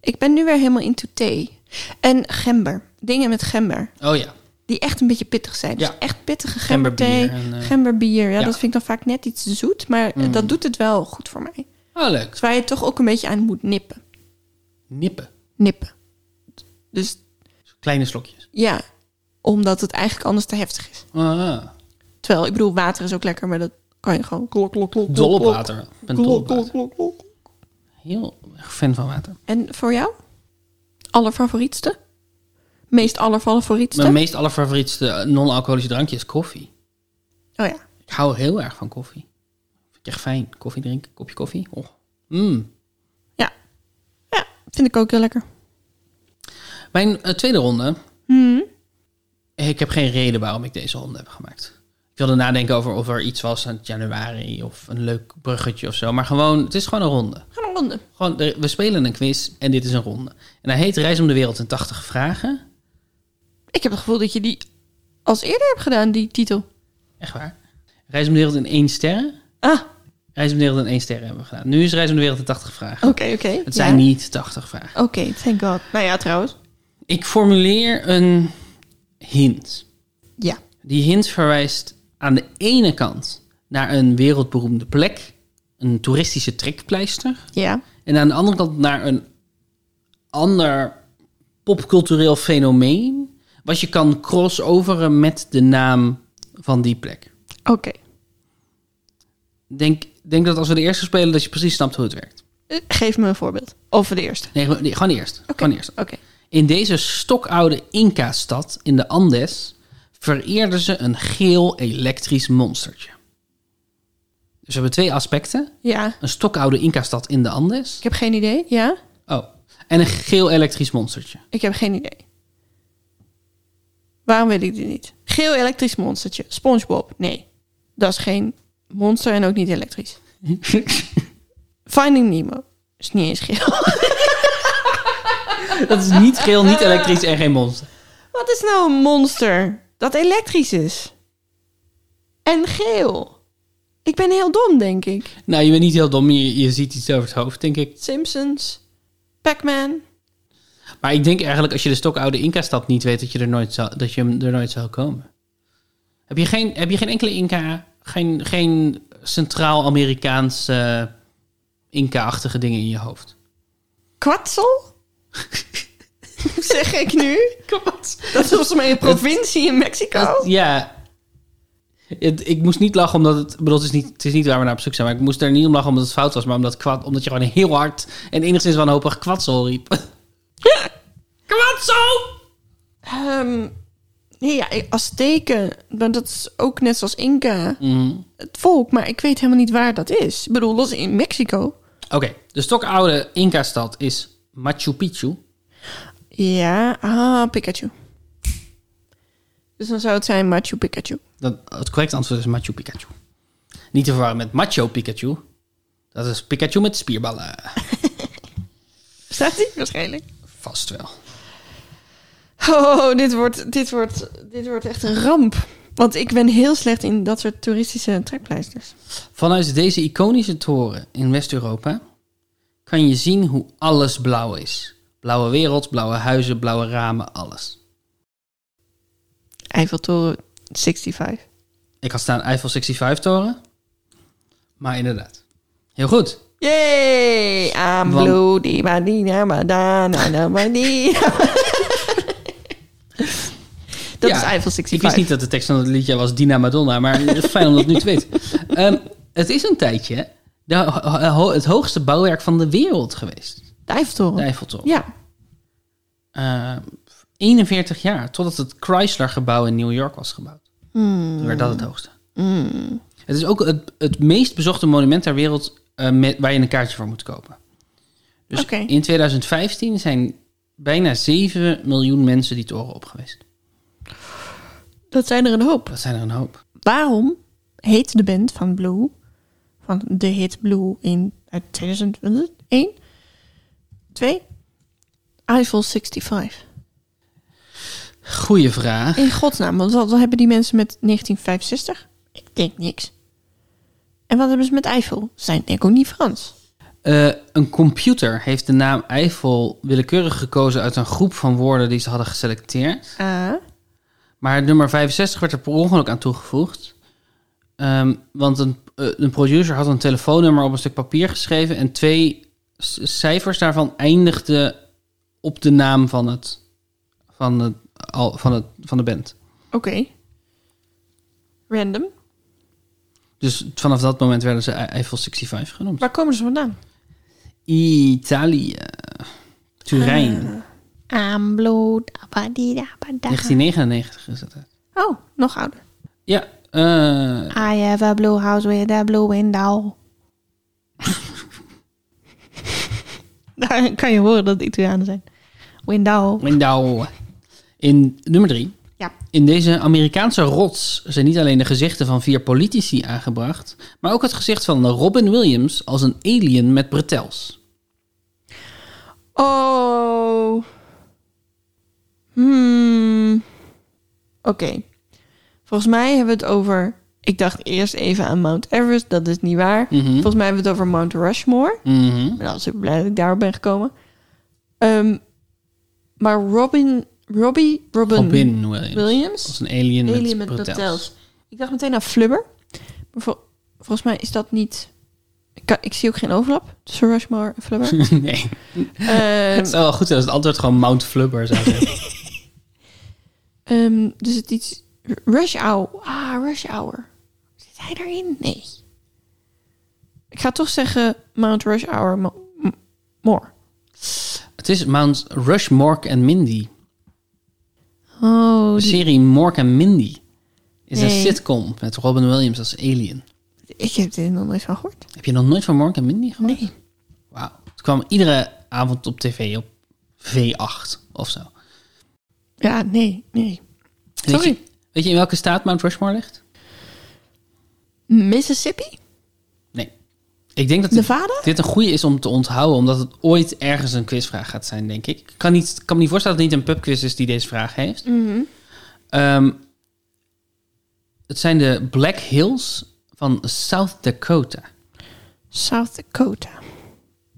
[SPEAKER 1] Ik ben nu weer helemaal into thee. En gember. Dingen met gember.
[SPEAKER 2] Oh ja.
[SPEAKER 1] Die echt een beetje pittig zijn. Dus
[SPEAKER 2] Ja.
[SPEAKER 1] echt pittige
[SPEAKER 2] Gemberbier
[SPEAKER 1] gemberthee.
[SPEAKER 2] en, eh,
[SPEAKER 1] gemberbier. Ja,
[SPEAKER 2] ja. Mm.
[SPEAKER 1] dat vind ik dan vaak net iets te zoet. Maar eh, dat doet het wel goed voor mij.
[SPEAKER 2] Oh, leuk.
[SPEAKER 1] Dus waar je toch ook een beetje aan moet nippen.
[SPEAKER 2] Nippen.
[SPEAKER 1] Nippen. Dus
[SPEAKER 2] Kleine slokjes.
[SPEAKER 1] ja, omdat het eigenlijk anders te heftig is.
[SPEAKER 2] Ah,
[SPEAKER 1] Terwijl, ik bedoel, water is ook lekker. Maar dat kan je gewoon klok, klok, klok. klok,
[SPEAKER 2] dol op
[SPEAKER 1] klok.
[SPEAKER 2] water. Ik ben dol
[SPEAKER 1] Klok,
[SPEAKER 2] op
[SPEAKER 1] klok,
[SPEAKER 2] water.
[SPEAKER 1] klok, klok.
[SPEAKER 2] Heel erg fan van water.
[SPEAKER 1] En voor jou? Allerfavorietste? Meest allerfavorietste?
[SPEAKER 2] Mijn meest allerfavorietste non-alcoholische drankje is koffie.
[SPEAKER 1] oh ja.
[SPEAKER 2] Ik hou heel erg van koffie. Vind ik echt fijn. Koffie drinken, kopje koffie. Oh. Mm.
[SPEAKER 1] ja. Ja, vind ik ook heel lekker.
[SPEAKER 2] Mijn eh, tweede ronde. Ik heb geen reden waarom ik deze ronde heb gemaakt. Ik wilde nadenken over of er iets was aan januari of een leuk bruggetje of zo. Maar gewoon, het is gewoon een ronde.
[SPEAKER 1] Ga een ronde.
[SPEAKER 2] Gewoon, er- we spelen een quiz en dit is een ronde. En hij heet Reis om de Wereld in 80 Vragen.
[SPEAKER 1] Ik heb het gevoel dat je die als eerder hebt gedaan, die titel.
[SPEAKER 2] Echt waar. Reis om de Wereld in 1 sterren.
[SPEAKER 1] Ah,
[SPEAKER 2] Reis om de Wereld in 1 sterren hebben we gedaan. Nu is Reis om de Wereld in 80 Vragen.
[SPEAKER 1] oké, oké.
[SPEAKER 2] Het
[SPEAKER 1] Oh, Ja.
[SPEAKER 2] zijn niet 80 vragen.
[SPEAKER 1] Oké, thank god. Nou ja, trouwens.
[SPEAKER 2] Ik formuleer een hint.
[SPEAKER 1] Ja.
[SPEAKER 2] Die hint verwijst aan de ene kant naar een wereldberoemde plek, een toeristische trekpleister,
[SPEAKER 1] Ja.
[SPEAKER 2] en aan de andere kant naar een ander popcultureel fenomeen, wat je kan crossoveren met de naam van die plek.
[SPEAKER 1] Oké.
[SPEAKER 2] Denk, denk dat als we de eerste spelen, dat je precies snapt hoe het werkt.
[SPEAKER 1] Eh, Geef me een voorbeeld. Over de eerste.
[SPEAKER 2] Nee, gewoon- nee, gewoon eerst. Gewoon eerst.
[SPEAKER 1] Oké.
[SPEAKER 2] In deze stokoude Inca-stad in de Andes vereerden ze een geel elektrisch monstertje. Dus we hebben twee aspecten.
[SPEAKER 1] Ja.
[SPEAKER 2] Een stokoude Inca-stad in de Andes.
[SPEAKER 1] Ik heb geen idee. Ja?
[SPEAKER 2] Oh, en een geel elektrisch monstertje.
[SPEAKER 1] Ik heb geen idee. Waarom weet ik dit niet? Geel elektrisch monstertje. SpongeBob. Nee. Dat is geen monster en ook niet elektrisch. Finding Nemo. Is niet eens geel.
[SPEAKER 2] Dat is niet geel, niet elektrisch en geen monster.
[SPEAKER 1] Wat is nou een monster dat elektrisch is? En geel. Ik ben heel dom, denk ik.
[SPEAKER 2] Nou, je bent niet heel dom. Je, je ziet iets over het hoofd, denk ik.
[SPEAKER 1] Simpsons. Pac-Man.
[SPEAKER 2] Maar ik denk eigenlijk als je de stokoude Inca-stad niet weet, dat je, er nooit zou, dat je hem er nooit zou komen. Heb je geen, heb je geen enkele Inca, geen, geen Centraal-Amerikaanse Inca-achtige dingen in je hoofd?
[SPEAKER 1] Kwatsel? zeg ik nu? Dat is volgens mij een provincie in Mexico.
[SPEAKER 2] Dat- ja. Het- ik moest niet lachen omdat het... ik Bedoel, het, is niet, het is niet waar we naar op zoek zijn. Maar ik moest er niet om lachen omdat het fout was. Maar omdat, kwad, omdat je gewoon heel hard en enigszins wanhopig kwatsel riep. kwatsel!
[SPEAKER 1] Ehm, nee, ja, Azteken. Maar dat is ook net zoals Inca.
[SPEAKER 2] Mhm.
[SPEAKER 1] Het volk, maar ik weet helemaal niet waar dat is. Ik bedoel, dat is in Mexico.
[SPEAKER 2] Oké, de stokoude Inca-stad is Machu Picchu.
[SPEAKER 1] Ja, ah, Pikachu. Dus dan zou het zijn Machu Pikachu.
[SPEAKER 2] Dat, het correcte antwoord is Machu Picchu. Niet te verwarren met Macho Pikachu. Dat is Pikachu met spierballen.
[SPEAKER 1] Staat die waarschijnlijk?
[SPEAKER 2] Vast wel.
[SPEAKER 1] Oh, dit wordt, dit, wordt, dit wordt echt een ramp. Want ik ben heel slecht in dat soort toeristische trekpleisters.
[SPEAKER 2] Vanuit deze iconische toren in West-Europa kan je zien hoe alles blauw is. Blauwe wereld, blauwe huizen, blauwe ramen, alles.
[SPEAKER 1] Eiffeltoren 65.
[SPEAKER 2] Ik had staan Eiffel 65 toren. Maar inderdaad. Heel goed.
[SPEAKER 1] Yay! I'm
[SPEAKER 2] Want-
[SPEAKER 1] blue, di ba di na ba da na na ba di. Dat
[SPEAKER 2] Ja,
[SPEAKER 1] is Eiffel
[SPEAKER 2] Ik wist
[SPEAKER 1] 65.
[SPEAKER 2] niet dat de tekst van het liedje was Dina Madonna, maar het is fijn om dat nu te weten. Ehm, het is een tijdje de ho- ho- het hoogste bouwwerk van de wereld geweest.
[SPEAKER 1] De Eiffeltoren.
[SPEAKER 2] De Eiffeltoren.
[SPEAKER 1] Ja.
[SPEAKER 2] eh, 41 jaar, totdat het Chrysler-gebouw in New York was gebouwd.
[SPEAKER 1] Hmm.
[SPEAKER 2] Toen werd dat het hoogste. Het is ook het, het meest bezochte monument ter wereld eh, met, waar je een kaartje voor moet kopen. Dus
[SPEAKER 1] Oké.
[SPEAKER 2] in 2015 zijn bijna 7 miljoen mensen die toren op geweest.
[SPEAKER 1] Dat zijn er een hoop.
[SPEAKER 2] Dat zijn er een hoop.
[SPEAKER 1] Waarom heet de band van Blue, van de hit Blue in uit 2001, 2, Eiffel 65?
[SPEAKER 2] Goeie vraag.
[SPEAKER 1] In godsnaam, want wat, wat hebben die mensen met 1965? Ik denk niks. En wat hebben ze met Eiffel? Ze Zijn denk ik ook niet Frans.
[SPEAKER 2] Eh, een computer heeft de naam Eiffel willekeurig gekozen uit een groep van woorden die ze hadden geselecteerd.
[SPEAKER 1] Ah.
[SPEAKER 2] Maar het nummer 65 werd er per ongeluk aan toegevoegd. Ehm, want een, eh, een producer had een telefoonnummer op een stuk papier geschreven. En twee c- cijfers daarvan eindigden op de naam van, het, van, het, al- van, het, van de band.
[SPEAKER 1] Oké. Random.
[SPEAKER 2] Dus vanaf dat moment werden ze Eiffel 65 genoemd.
[SPEAKER 1] Waar komen ze vandaan?
[SPEAKER 2] Italië. Turijn.
[SPEAKER 1] Amblo, dabadi, dabada.
[SPEAKER 2] 1999 is dat. hè?
[SPEAKER 1] Oh, nog ouder.
[SPEAKER 2] Ja, eh,
[SPEAKER 1] I have a blue house with a blue window. Daar kan je horen dat het Italianen zijn. Window.
[SPEAKER 2] Window. In nummer drie.
[SPEAKER 1] Ja.
[SPEAKER 2] In deze Amerikaanse rots zijn niet alleen de gezichten van vier politici aangebracht, maar ook het gezicht van Robin Williams als een alien met bretels.
[SPEAKER 1] Oh. Hmm. Oké. Volgens mij hebben we het over... Ik dacht eerst even aan Mount Everest. Dat is niet waar. Volgens mij hebben we het over Mount Rushmore.
[SPEAKER 2] Mhm.
[SPEAKER 1] Ik ben al super blij dat ik daarop ben gekomen. Ehm, Maar Robin, Robbie, Robin,
[SPEAKER 2] Robin Williams.
[SPEAKER 1] Williams?
[SPEAKER 2] Als een alien,
[SPEAKER 1] Alien met
[SPEAKER 2] met,
[SPEAKER 1] Bretels.
[SPEAKER 2] bretels.
[SPEAKER 1] Ik dacht meteen aan Flubber. Maar vol- volgens mij is dat niet... Ik, kan- ik zie ook geen overlap tussen Rushmore en Flubber.
[SPEAKER 2] nee,
[SPEAKER 1] Ehm,
[SPEAKER 2] het zou wel goed zijn als het antwoord gewoon Mount Flubber zou zijn.
[SPEAKER 1] ehm, dus het iets... Rush Hour. Ah, Rush Hour. Zit hij daarin? Nee. Ik ga toch zeggen Mount Rush Hour Mo- M- More.
[SPEAKER 2] het is Mount Rush, Mork en Mindy.
[SPEAKER 1] Oh,
[SPEAKER 2] De
[SPEAKER 1] die-
[SPEAKER 2] serie Mork en Mindy is een
[SPEAKER 1] Nee.
[SPEAKER 2] sitcom met Robin Williams als alien.
[SPEAKER 1] ik heb dit nog nooit van gehoord.
[SPEAKER 2] Heb je nog nooit van Mork en Mindy gehoord?
[SPEAKER 1] Nee.
[SPEAKER 2] Wauw. Het kwam iedere avond op tv op V8 of zo.
[SPEAKER 1] Ja, nee, nee.
[SPEAKER 2] Weet
[SPEAKER 1] Sorry.
[SPEAKER 2] je, weet je in welke staat Mount Rushmore ligt?
[SPEAKER 1] Mississippi?
[SPEAKER 2] Nee. Ik denk dat dit,
[SPEAKER 1] Nevada?
[SPEAKER 2] dit een goede is om te onthouden, omdat het ooit ergens een quizvraag gaat zijn, denk ik. Ik kan, niet, kan me niet voorstellen dat het niet een pubquiz is die deze vraag heeft. Ehm, het zijn de Black Hills van South Dakota.
[SPEAKER 1] South Dakota.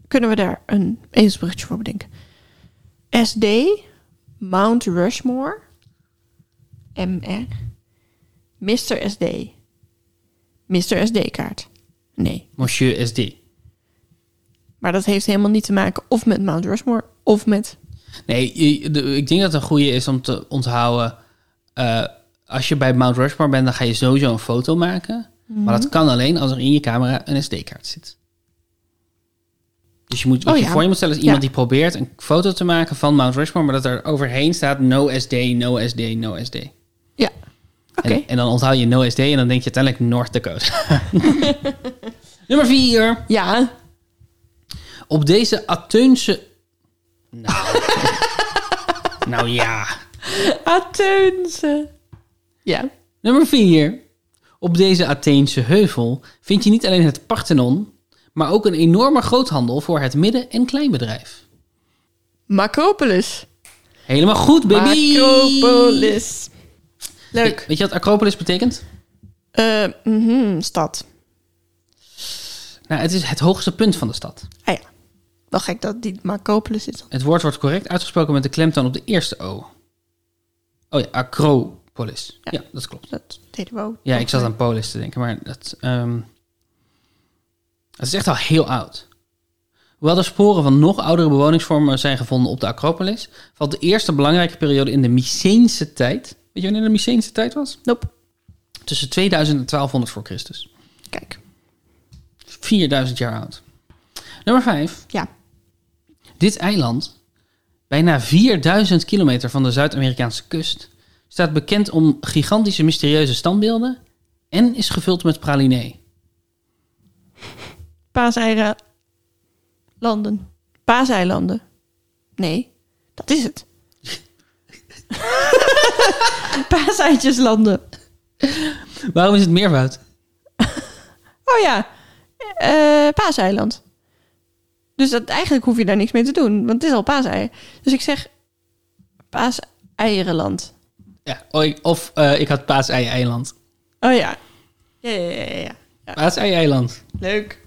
[SPEAKER 1] Kunnen we daar een ezelsbruggetje voor bedenken? SD, Mount Rushmore, MR, Mr. SD, Mr. SD-kaart. Nee,
[SPEAKER 2] Monsieur SD.
[SPEAKER 1] maar dat heeft helemaal niet te maken of met Mount Rushmore of met...
[SPEAKER 2] Nee, je- de- ik denk dat het een goede is om te onthouden. eh, als je bij Mount Rushmore bent, dan ga je sowieso een foto maken. Maar dat
[SPEAKER 1] Mhm.
[SPEAKER 2] kan alleen als er in je camera een SD-kaart zit. Dus je moet, wat
[SPEAKER 1] Oh
[SPEAKER 2] je
[SPEAKER 1] ja.
[SPEAKER 2] voor je moet stellen is iemand
[SPEAKER 1] Ja.
[SPEAKER 2] die probeert een foto te maken van Mount Rushmore, maar dat er overheen staat no SD, no SD, no SD.
[SPEAKER 1] Ja, oké.
[SPEAKER 2] En, en dan onthoud je no SD en dan denk je uiteindelijk North Dakota. Nummer 4.
[SPEAKER 1] Ja,
[SPEAKER 2] Op deze Atheunse... Nou, nou ja.
[SPEAKER 1] Atheense. Ja.
[SPEAKER 2] Nummer 4. Op deze Atheense heuvel vind je niet alleen het Parthenon, maar ook een enorme groothandel voor het midden- en kleinbedrijf.
[SPEAKER 1] Macropolis.
[SPEAKER 2] Helemaal goed, baby!
[SPEAKER 1] Macropolis. Leuk.
[SPEAKER 2] We- Weet je wat Acropolis betekent?
[SPEAKER 1] Eh, mhm, stad.
[SPEAKER 2] Nou, het is het hoogste punt van de stad.
[SPEAKER 1] Ah ja. Wel gek dat die Macropolis is. dan.
[SPEAKER 2] Het woord wordt correct uitgesproken met de klemtoon op de eerste O. Oh ja, Acropolis. Ja, dat klopt.
[SPEAKER 1] Dat deden we ook.
[SPEAKER 2] Ja, ik zat aan Polis te denken, maar dat... ehm, het is echt al heel oud. Hoewel er sporen van nog oudere bewoningsvormen zijn gevonden op de Acropolis, valt de eerste belangrijke periode in de Myceense tijd. Weet je wanneer de Myceense tijd was?
[SPEAKER 1] Nope.
[SPEAKER 2] Tussen 2000 en 1200 voor Christus.
[SPEAKER 1] Kijk.
[SPEAKER 2] 4000 jaar oud. Nummer 5.
[SPEAKER 1] Ja.
[SPEAKER 2] Dit eiland, bijna 4000 kilometer van de Zuid-Amerikaanse kust, staat bekend om gigantische mysterieuze standbeelden en is gevuld met pralinee.
[SPEAKER 1] Paaseieren. Landen. Paaseilanden. Nee, dat is het. Paaseitjeslanden.
[SPEAKER 2] Waarom is het meervoud?
[SPEAKER 1] Oh ja. Eh, paaseiland. Dus dat, eigenlijk hoef je daar niks mee te doen, want het is al paaseieren. Dus ik zeg paaseierenland.
[SPEAKER 2] Ja, oi, of eh, ik had paasei-eiland.
[SPEAKER 1] Oh ja. Ja, ja, ja, ja, ja. ja.
[SPEAKER 2] Paasei-eiland.
[SPEAKER 1] Leuk.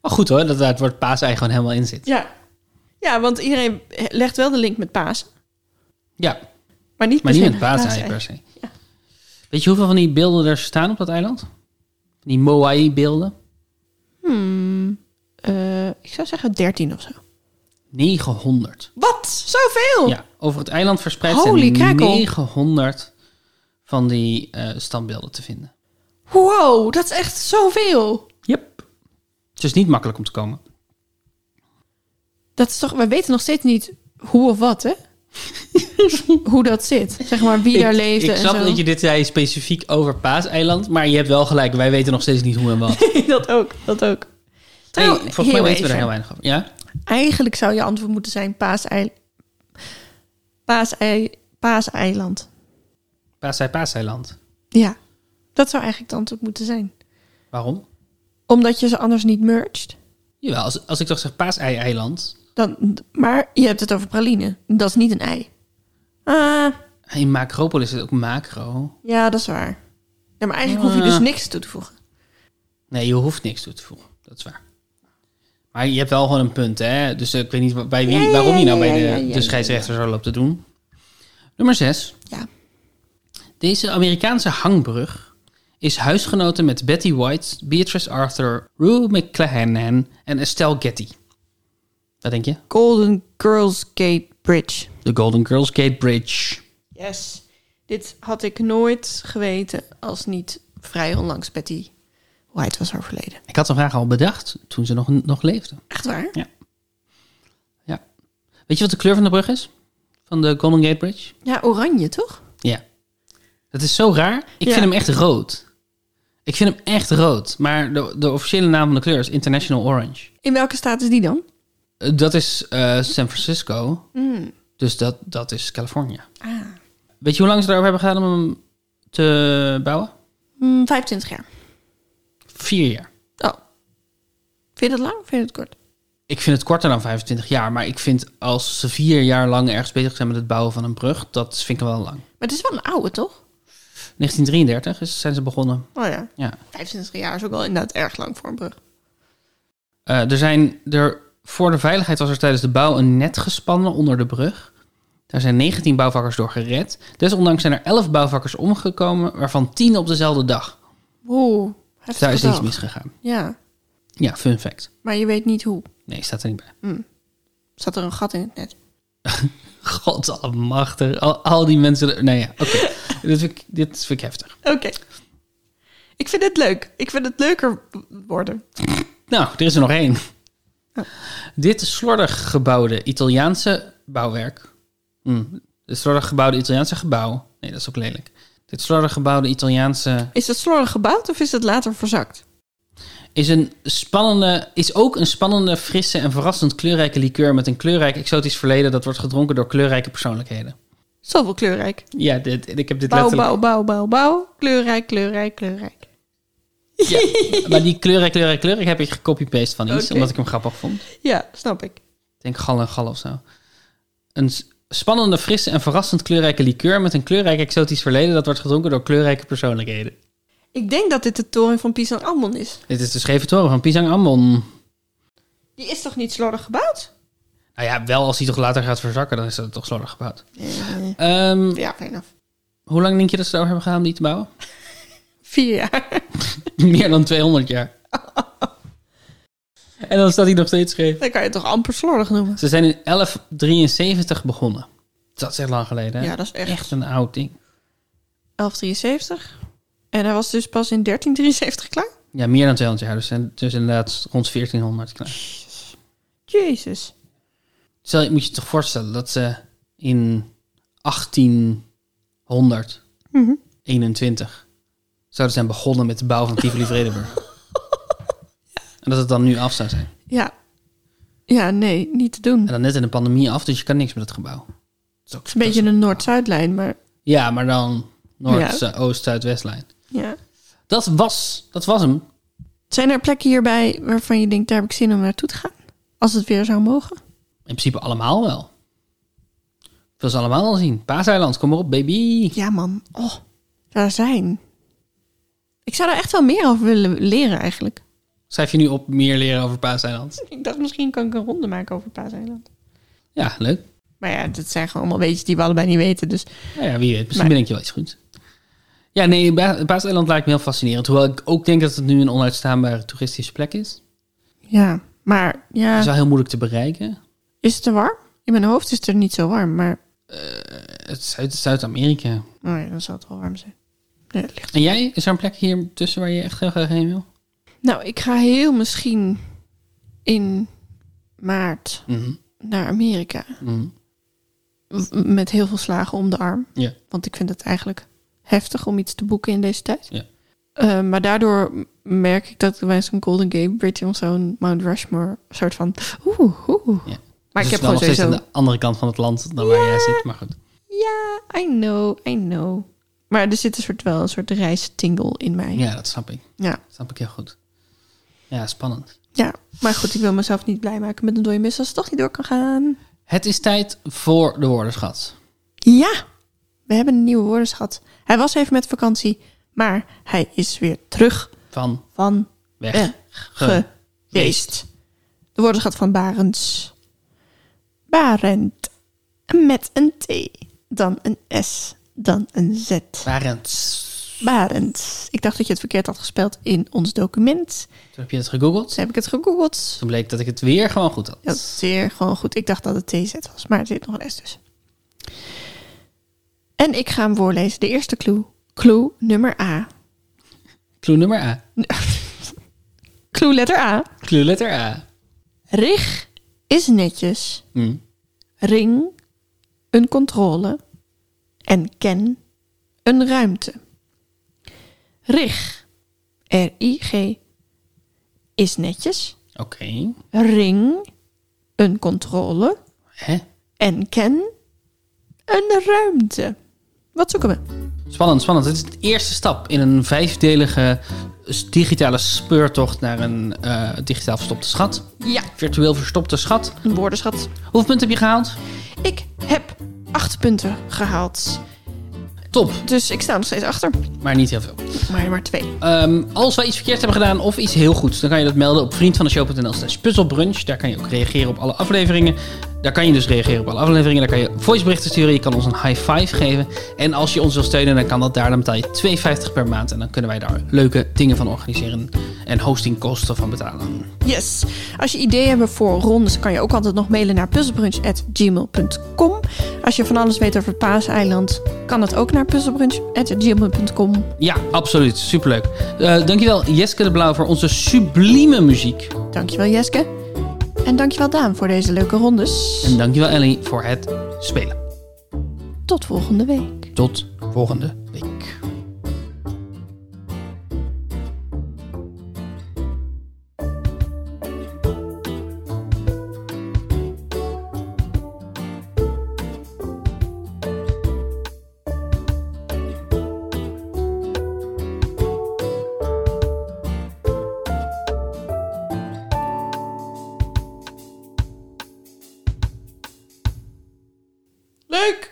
[SPEAKER 2] Maar goed hoor, dat daar het woord paasei gewoon helemaal in zit.
[SPEAKER 1] Ja. ja, want iedereen legt wel de link met paas.
[SPEAKER 2] Ja,
[SPEAKER 1] Maar niet,
[SPEAKER 2] maar
[SPEAKER 1] per
[SPEAKER 2] niet
[SPEAKER 1] se
[SPEAKER 2] met paasei
[SPEAKER 1] paasei.
[SPEAKER 2] per se.
[SPEAKER 1] Ja.
[SPEAKER 2] Weet je hoeveel van die beelden er staan op dat eiland? Van Die Moai-beelden?
[SPEAKER 1] Hmm, eh, ik zou zeggen 13 of zo.
[SPEAKER 2] 900.
[SPEAKER 1] Wat? Zoveel?
[SPEAKER 2] Ja, over het eiland verspreid
[SPEAKER 1] Oh. Holy
[SPEAKER 2] zijn
[SPEAKER 1] crackle.
[SPEAKER 2] 900 van die eh, standbeelden te vinden.
[SPEAKER 1] Wow, dat is echt zoveel.
[SPEAKER 2] Yep. Dus Het is niet makkelijk om te komen.
[SPEAKER 1] Dat is toch, we weten nog steeds niet hoe of wat, hè? hoe dat zit. Zeg maar wie daar
[SPEAKER 2] ik,
[SPEAKER 1] leefde
[SPEAKER 2] ik
[SPEAKER 1] en
[SPEAKER 2] snap
[SPEAKER 1] zo.
[SPEAKER 2] dat je dit zei specifiek over paaseiland, maar je hebt wel gelijk. Wij weten nog steeds niet hoe en wat.
[SPEAKER 1] dat ook, dat ook.
[SPEAKER 2] Nee,
[SPEAKER 1] Trouw-
[SPEAKER 2] volgens mij
[SPEAKER 1] heel
[SPEAKER 2] weten we er
[SPEAKER 1] even.
[SPEAKER 2] heel weinig over. Ja?
[SPEAKER 1] Eigenlijk zou je antwoord moeten zijn paasei... Paasei... Paaseiland.
[SPEAKER 2] Paasei Paaseiland.
[SPEAKER 1] Ja, dat zou eigenlijk het antwoord moeten zijn.
[SPEAKER 2] Waarom?
[SPEAKER 1] Omdat je ze anders niet merged.
[SPEAKER 2] Jawel, als, als ik toch zeg Paasei-eiland.
[SPEAKER 1] Dan, maar je hebt het over praline. Dat is niet een ei. Ah,
[SPEAKER 2] In Macropolis is het ook macro.
[SPEAKER 1] ja, dat is waar. Ja, Ah. maar eigenlijk hoef je dus niks toe te voegen.
[SPEAKER 2] Nee, je hoeft niks toe te voegen. Dat is waar. Maar je hebt wel gewoon een punt, hè? Dus eh, ik weet niet wa- bij wie,
[SPEAKER 1] Ja, ja,
[SPEAKER 2] waarom je
[SPEAKER 1] ja,
[SPEAKER 2] nou bij
[SPEAKER 1] ja,
[SPEAKER 2] de,
[SPEAKER 1] ja, ja, ja,
[SPEAKER 2] de scheidsrechter zou loopt te doen. Nummer 6.
[SPEAKER 1] Ja.
[SPEAKER 2] Deze Amerikaanse hangbrug is huisgenoten met Betty White, Beatrice Arthur, Rue McClanahan en Estelle Getty. Wat denk je?
[SPEAKER 1] Golden Girls Gate Bridge.
[SPEAKER 2] De Golden Girls Gate Bridge.
[SPEAKER 1] Yes. Dit had ik nooit geweten als niet vrij onlangs Betty White was overleden.
[SPEAKER 2] Ik had de vraag al bedacht toen ze nog, nog leefde.
[SPEAKER 1] Echt waar?
[SPEAKER 2] Ja. ja. Weet je wat de kleur van de brug is? Van de Golden Gate Bridge?
[SPEAKER 1] Ja, oranje toch?
[SPEAKER 2] Ja. Dat is zo raar. Ik
[SPEAKER 1] Ja.
[SPEAKER 2] vind hem echt rood. Ik vind hem echt rood. Maar de, de officiële naam van de kleur is International Orange.
[SPEAKER 1] In welke staat is die dan?
[SPEAKER 2] Eh, Dat is eh, San Francisco. Dus dat, dat is Californië.
[SPEAKER 1] Ah.
[SPEAKER 2] Weet je hoe lang ze daarover hebben gedaan om hem te bouwen?
[SPEAKER 1] Mm, 25 jaar.
[SPEAKER 2] Vier jaar.
[SPEAKER 1] Oh. Vind je dat lang of vind je het kort?
[SPEAKER 2] Ik vind het korter dan 25 jaar. Maar ik vind als ze vier jaar lang ergens bezig zijn met het bouwen van een brug... dat vind ik wel lang.
[SPEAKER 1] Maar het is wel een oude, toch?
[SPEAKER 2] 1933 is, zijn ze begonnen.
[SPEAKER 1] Oh ja.
[SPEAKER 2] Ja.
[SPEAKER 1] 25 jaar is ook wel inderdaad erg lang voor een brug.
[SPEAKER 2] Eh, er zijn er, voor de veiligheid was er tijdens de bouw een net gespannen onder de brug. Daar zijn 19 bouwvakkers door gered. Desondanks zijn er 11 bouwvakkers omgekomen, waarvan 10 op dezelfde dag.
[SPEAKER 1] Oeh, heftig
[SPEAKER 2] Daar is
[SPEAKER 1] getal.
[SPEAKER 2] niets misgegaan.
[SPEAKER 1] Ja,
[SPEAKER 2] Ja, fun fact.
[SPEAKER 1] maar je weet niet hoe.
[SPEAKER 2] Nee, staat er niet bij.
[SPEAKER 1] Zat er een gat in het net?
[SPEAKER 2] God al, al die mensen. er- Nou ja, oké. dit, vind ik- dit vind ik heftig.
[SPEAKER 1] Oké. Ik vind het leuk. Ik vind het leuker worden.
[SPEAKER 2] Nou, er is er nog één. Dit slordig gebouwde Italiaanse bouwwerk. Hm. Dit slordig gebouwde Italiaanse gebouw. Nee, dat is ook lelijk. Dit slordig gebouwde Italiaanse
[SPEAKER 1] Is dat slordig gebouwd of is het later verzakt?
[SPEAKER 2] is, een spannende, is ook een spannende, frisse en verrassend kleurrijke liqueur met een kleurrijk exotisch verleden dat wordt gedronken door kleurrijke persoonlijkheden.
[SPEAKER 1] Zoveel kleurrijk.
[SPEAKER 2] Ja, dit, ik heb dit
[SPEAKER 1] Bouw,
[SPEAKER 2] letterlijk...
[SPEAKER 1] bouw, bouw, bouw, bouw. Kleurrijk, kleurrijk, kleurrijk.
[SPEAKER 2] Ja, maar die kleurrijk, kleurrijk, kleurrijk heb ik gecopy-paste van iets,
[SPEAKER 1] Oké.
[SPEAKER 2] omdat ik hem grappig vond.
[SPEAKER 1] Ja, snap ik.
[SPEAKER 2] Ik denk gal en gal of zo. Een s- spannende, frisse en verrassend kleurrijke liqueur met een kleurrijk exotisch verleden dat wordt gedronken door kleurrijke persoonlijkheden.
[SPEAKER 1] Ik denk dat dit de toren van Pisa en Ammon is.
[SPEAKER 2] Dit is de scheve toren van Pisang Ambon.
[SPEAKER 1] Die is toch niet slordig gebouwd?
[SPEAKER 2] Nou ja, wel als hij toch later gaat verzakken, dan is dat toch slordig gebouwd. Ehm,
[SPEAKER 1] Eh, Ja, fair enough.
[SPEAKER 2] hoe lang denk je dat ze erover hebben gedaan om die te bouwen?
[SPEAKER 1] Vier jaar.
[SPEAKER 2] Meer dan 200 jaar. en dan staat hij nog steeds scheef.
[SPEAKER 1] Dat kan je toch amper slordig noemen?
[SPEAKER 2] Ze zijn in 1173 begonnen. Dat is echt lang geleden. Hè?
[SPEAKER 1] Ja, dat is echt
[SPEAKER 2] echt een oud ding.
[SPEAKER 1] 1173. En hij was dus pas in 1373 klaar?
[SPEAKER 2] Ja, meer dan 200 jaar. Dus, zijn- dus inderdaad rond 1400 klaar.
[SPEAKER 1] Jezus.
[SPEAKER 2] Stel, je moet je toch voorstellen dat ze in 1821
[SPEAKER 1] Mhm.
[SPEAKER 2] zouden zijn begonnen met de bouw van Tivoli Vredenburg. en dat het dan nu af zou zijn.
[SPEAKER 1] Ja. Ja, nee, niet te doen.
[SPEAKER 2] En dan net in de pandemie af, dus je kan niks met het gebouw. Dat ook-
[SPEAKER 1] Het is een beetje een Noord-Zuidlijn, maar
[SPEAKER 2] Ja, maar dan
[SPEAKER 1] Ja.
[SPEAKER 2] Noord, zu- Oost, Zuid, Westlijn.
[SPEAKER 1] ja.
[SPEAKER 2] Dat was, dat was hem.
[SPEAKER 1] Zijn er plekken hierbij waarvan je denkt, daar heb ik zin om naartoe te gaan? Als het weer zou mogen?
[SPEAKER 2] In principe allemaal wel. Ik wil ze allemaal al zien. Paaseiland, kom maar op, baby.
[SPEAKER 1] Ja, man. Oh, daar zijn. Ik zou daar echt wel meer over willen leren eigenlijk.
[SPEAKER 2] Schrijf je nu op meer leren over Paaseiland.
[SPEAKER 1] Ik dacht, misschien kan ik een ronde maken over Paaseiland.
[SPEAKER 2] Ja, leuk.
[SPEAKER 1] Maar ja, dat zijn gewoon allemaal weetjes die we allebei niet weten. Dus
[SPEAKER 2] Nou ja, wie weet. Misschien
[SPEAKER 1] Maar-
[SPEAKER 2] ben ik je wel iets goed. Ja, nee, Ba- Paaseiland lijkt me heel fascinerend. Hoewel ik ook denk dat het nu een onuitstaanbare toeristische plek is.
[SPEAKER 1] ja, maar
[SPEAKER 2] Het is
[SPEAKER 1] ja,
[SPEAKER 2] wel heel moeilijk te bereiken.
[SPEAKER 1] is het te warm? In mijn hoofd is het er niet zo warm, maar
[SPEAKER 2] Het is uit Zuid-Amerika.
[SPEAKER 1] oh ja, dan zal het wel warm zijn. Nee, dat ligt.
[SPEAKER 2] En jij, is er een plek hier tussen waar je echt heel graag heen wil?
[SPEAKER 1] Nou, ik ga heel misschien in maart
[SPEAKER 2] Mhm.
[SPEAKER 1] naar Amerika.
[SPEAKER 2] Mhm.
[SPEAKER 1] W- Met heel veel slagen om de arm.
[SPEAKER 2] Ja.
[SPEAKER 1] Want ik vind het eigenlijk heftig om iets te boeken in deze tijd.
[SPEAKER 2] Ja.
[SPEAKER 1] Eh, maar daardoor m- merk ik dat ik bij zo'n Golden Gate Bridge of zo'n Mount Rushmore soort van... Oeh, oeh.
[SPEAKER 2] Ja.
[SPEAKER 1] Maar
[SPEAKER 2] Dus
[SPEAKER 1] ik heb
[SPEAKER 2] het is wel
[SPEAKER 1] gewoon
[SPEAKER 2] nog steeds
[SPEAKER 1] sowieso...
[SPEAKER 2] aan de andere kant van het land dan waar jij zit. Maar goed.
[SPEAKER 1] Ja, I know, I know. Maar er zit een soort, wel een soort reistingle in mij.
[SPEAKER 2] Ja, dat snap ik.
[SPEAKER 1] ja.
[SPEAKER 2] Dat snap ik heel goed. Ja, spannend.
[SPEAKER 1] Ja, maar goed, ik wil mezelf niet blij maken met een dode mis als het toch niet door kan gaan.
[SPEAKER 2] Het is tijd voor de woordenschat.
[SPEAKER 1] Ja, we hebben een nieuwe woordenschat. Hij was even met vakantie, maar hij is weer terug
[SPEAKER 2] Van
[SPEAKER 1] van
[SPEAKER 2] weg.
[SPEAKER 1] eh,
[SPEAKER 2] Ge-
[SPEAKER 1] geweest. De woordenschat van Barends. Barend. Met een T. Dan een S. Dan een Z.
[SPEAKER 2] Barends.
[SPEAKER 1] Barends. Ik dacht dat je het verkeerd had gespeld in ons document.
[SPEAKER 2] Toen heb je het gegoogeld.
[SPEAKER 1] Dus heb ik het gegoogeld.
[SPEAKER 2] Toen bleek dat ik het weer gewoon goed had.
[SPEAKER 1] Dat is zeer gewoon goed. Ik dacht dat het TZ was, maar er zit nog een S tussen. En ik ga hem voorlezen. De eerste clue. Clue nummer A.
[SPEAKER 2] Clue nummer A.
[SPEAKER 1] Clue letter A.
[SPEAKER 2] Clue letter A.
[SPEAKER 1] Rig is netjes.
[SPEAKER 2] Hm.
[SPEAKER 1] Ring, een controle. En ken, een ruimte. Rig, R-I-G, is netjes.
[SPEAKER 2] Oké.
[SPEAKER 1] Ring, een controle.
[SPEAKER 2] Hè?
[SPEAKER 1] En ken, een ruimte. Wat zoeken we?
[SPEAKER 2] Spannend, spannend. Dit is de eerste stap in een vijfdelige s- digitale speurtocht naar een eh, digitaal verstopte schat.
[SPEAKER 1] Ja,
[SPEAKER 2] Virtueel verstopte schat.
[SPEAKER 1] een woordenschat.
[SPEAKER 2] Hoeveel punten heb je gehaald?
[SPEAKER 1] Ik heb acht punten gehaald.
[SPEAKER 2] Top,
[SPEAKER 1] Dus ik sta nog steeds achter.
[SPEAKER 2] maar niet heel veel.
[SPEAKER 1] Maar maar twee.
[SPEAKER 2] Ehm, als wij iets verkeerd hebben gedaan of iets heel goeds, dan kan je dat melden op vriendvandeshow.nl slash puzzelbrunch. Daar kan je ook reageren op alle afleveringen. Daar kan je dus reageren op alle afleveringen. Daar kan je voiceberichten sturen. Je kan ons een high five geven. En als je ons wil steunen, dan kan dat daar. Dan betaal je 2,50 per maand. En dan kunnen wij daar leuke dingen van organiseren. En hostingkosten van betalen.
[SPEAKER 1] Yes. Als je ideeën hebt voor rondes, kan je ook altijd nog mailen naar puzzelbrunch.gmail.com. Als je van alles weet over Paaseiland, kan dat ook naar puzzelbrunch.gmail.com.
[SPEAKER 2] Ja, absoluut. Superleuk. Eh dankjewel Jeske de Blauw voor onze sublieme muziek.
[SPEAKER 1] Dankjewel Jeske. En dankjewel Daan voor deze leuke rondes.
[SPEAKER 2] En dankjewel Ellie voor het spelen.
[SPEAKER 1] Tot volgende week.
[SPEAKER 2] Tot volgende week.
[SPEAKER 1] Leuk!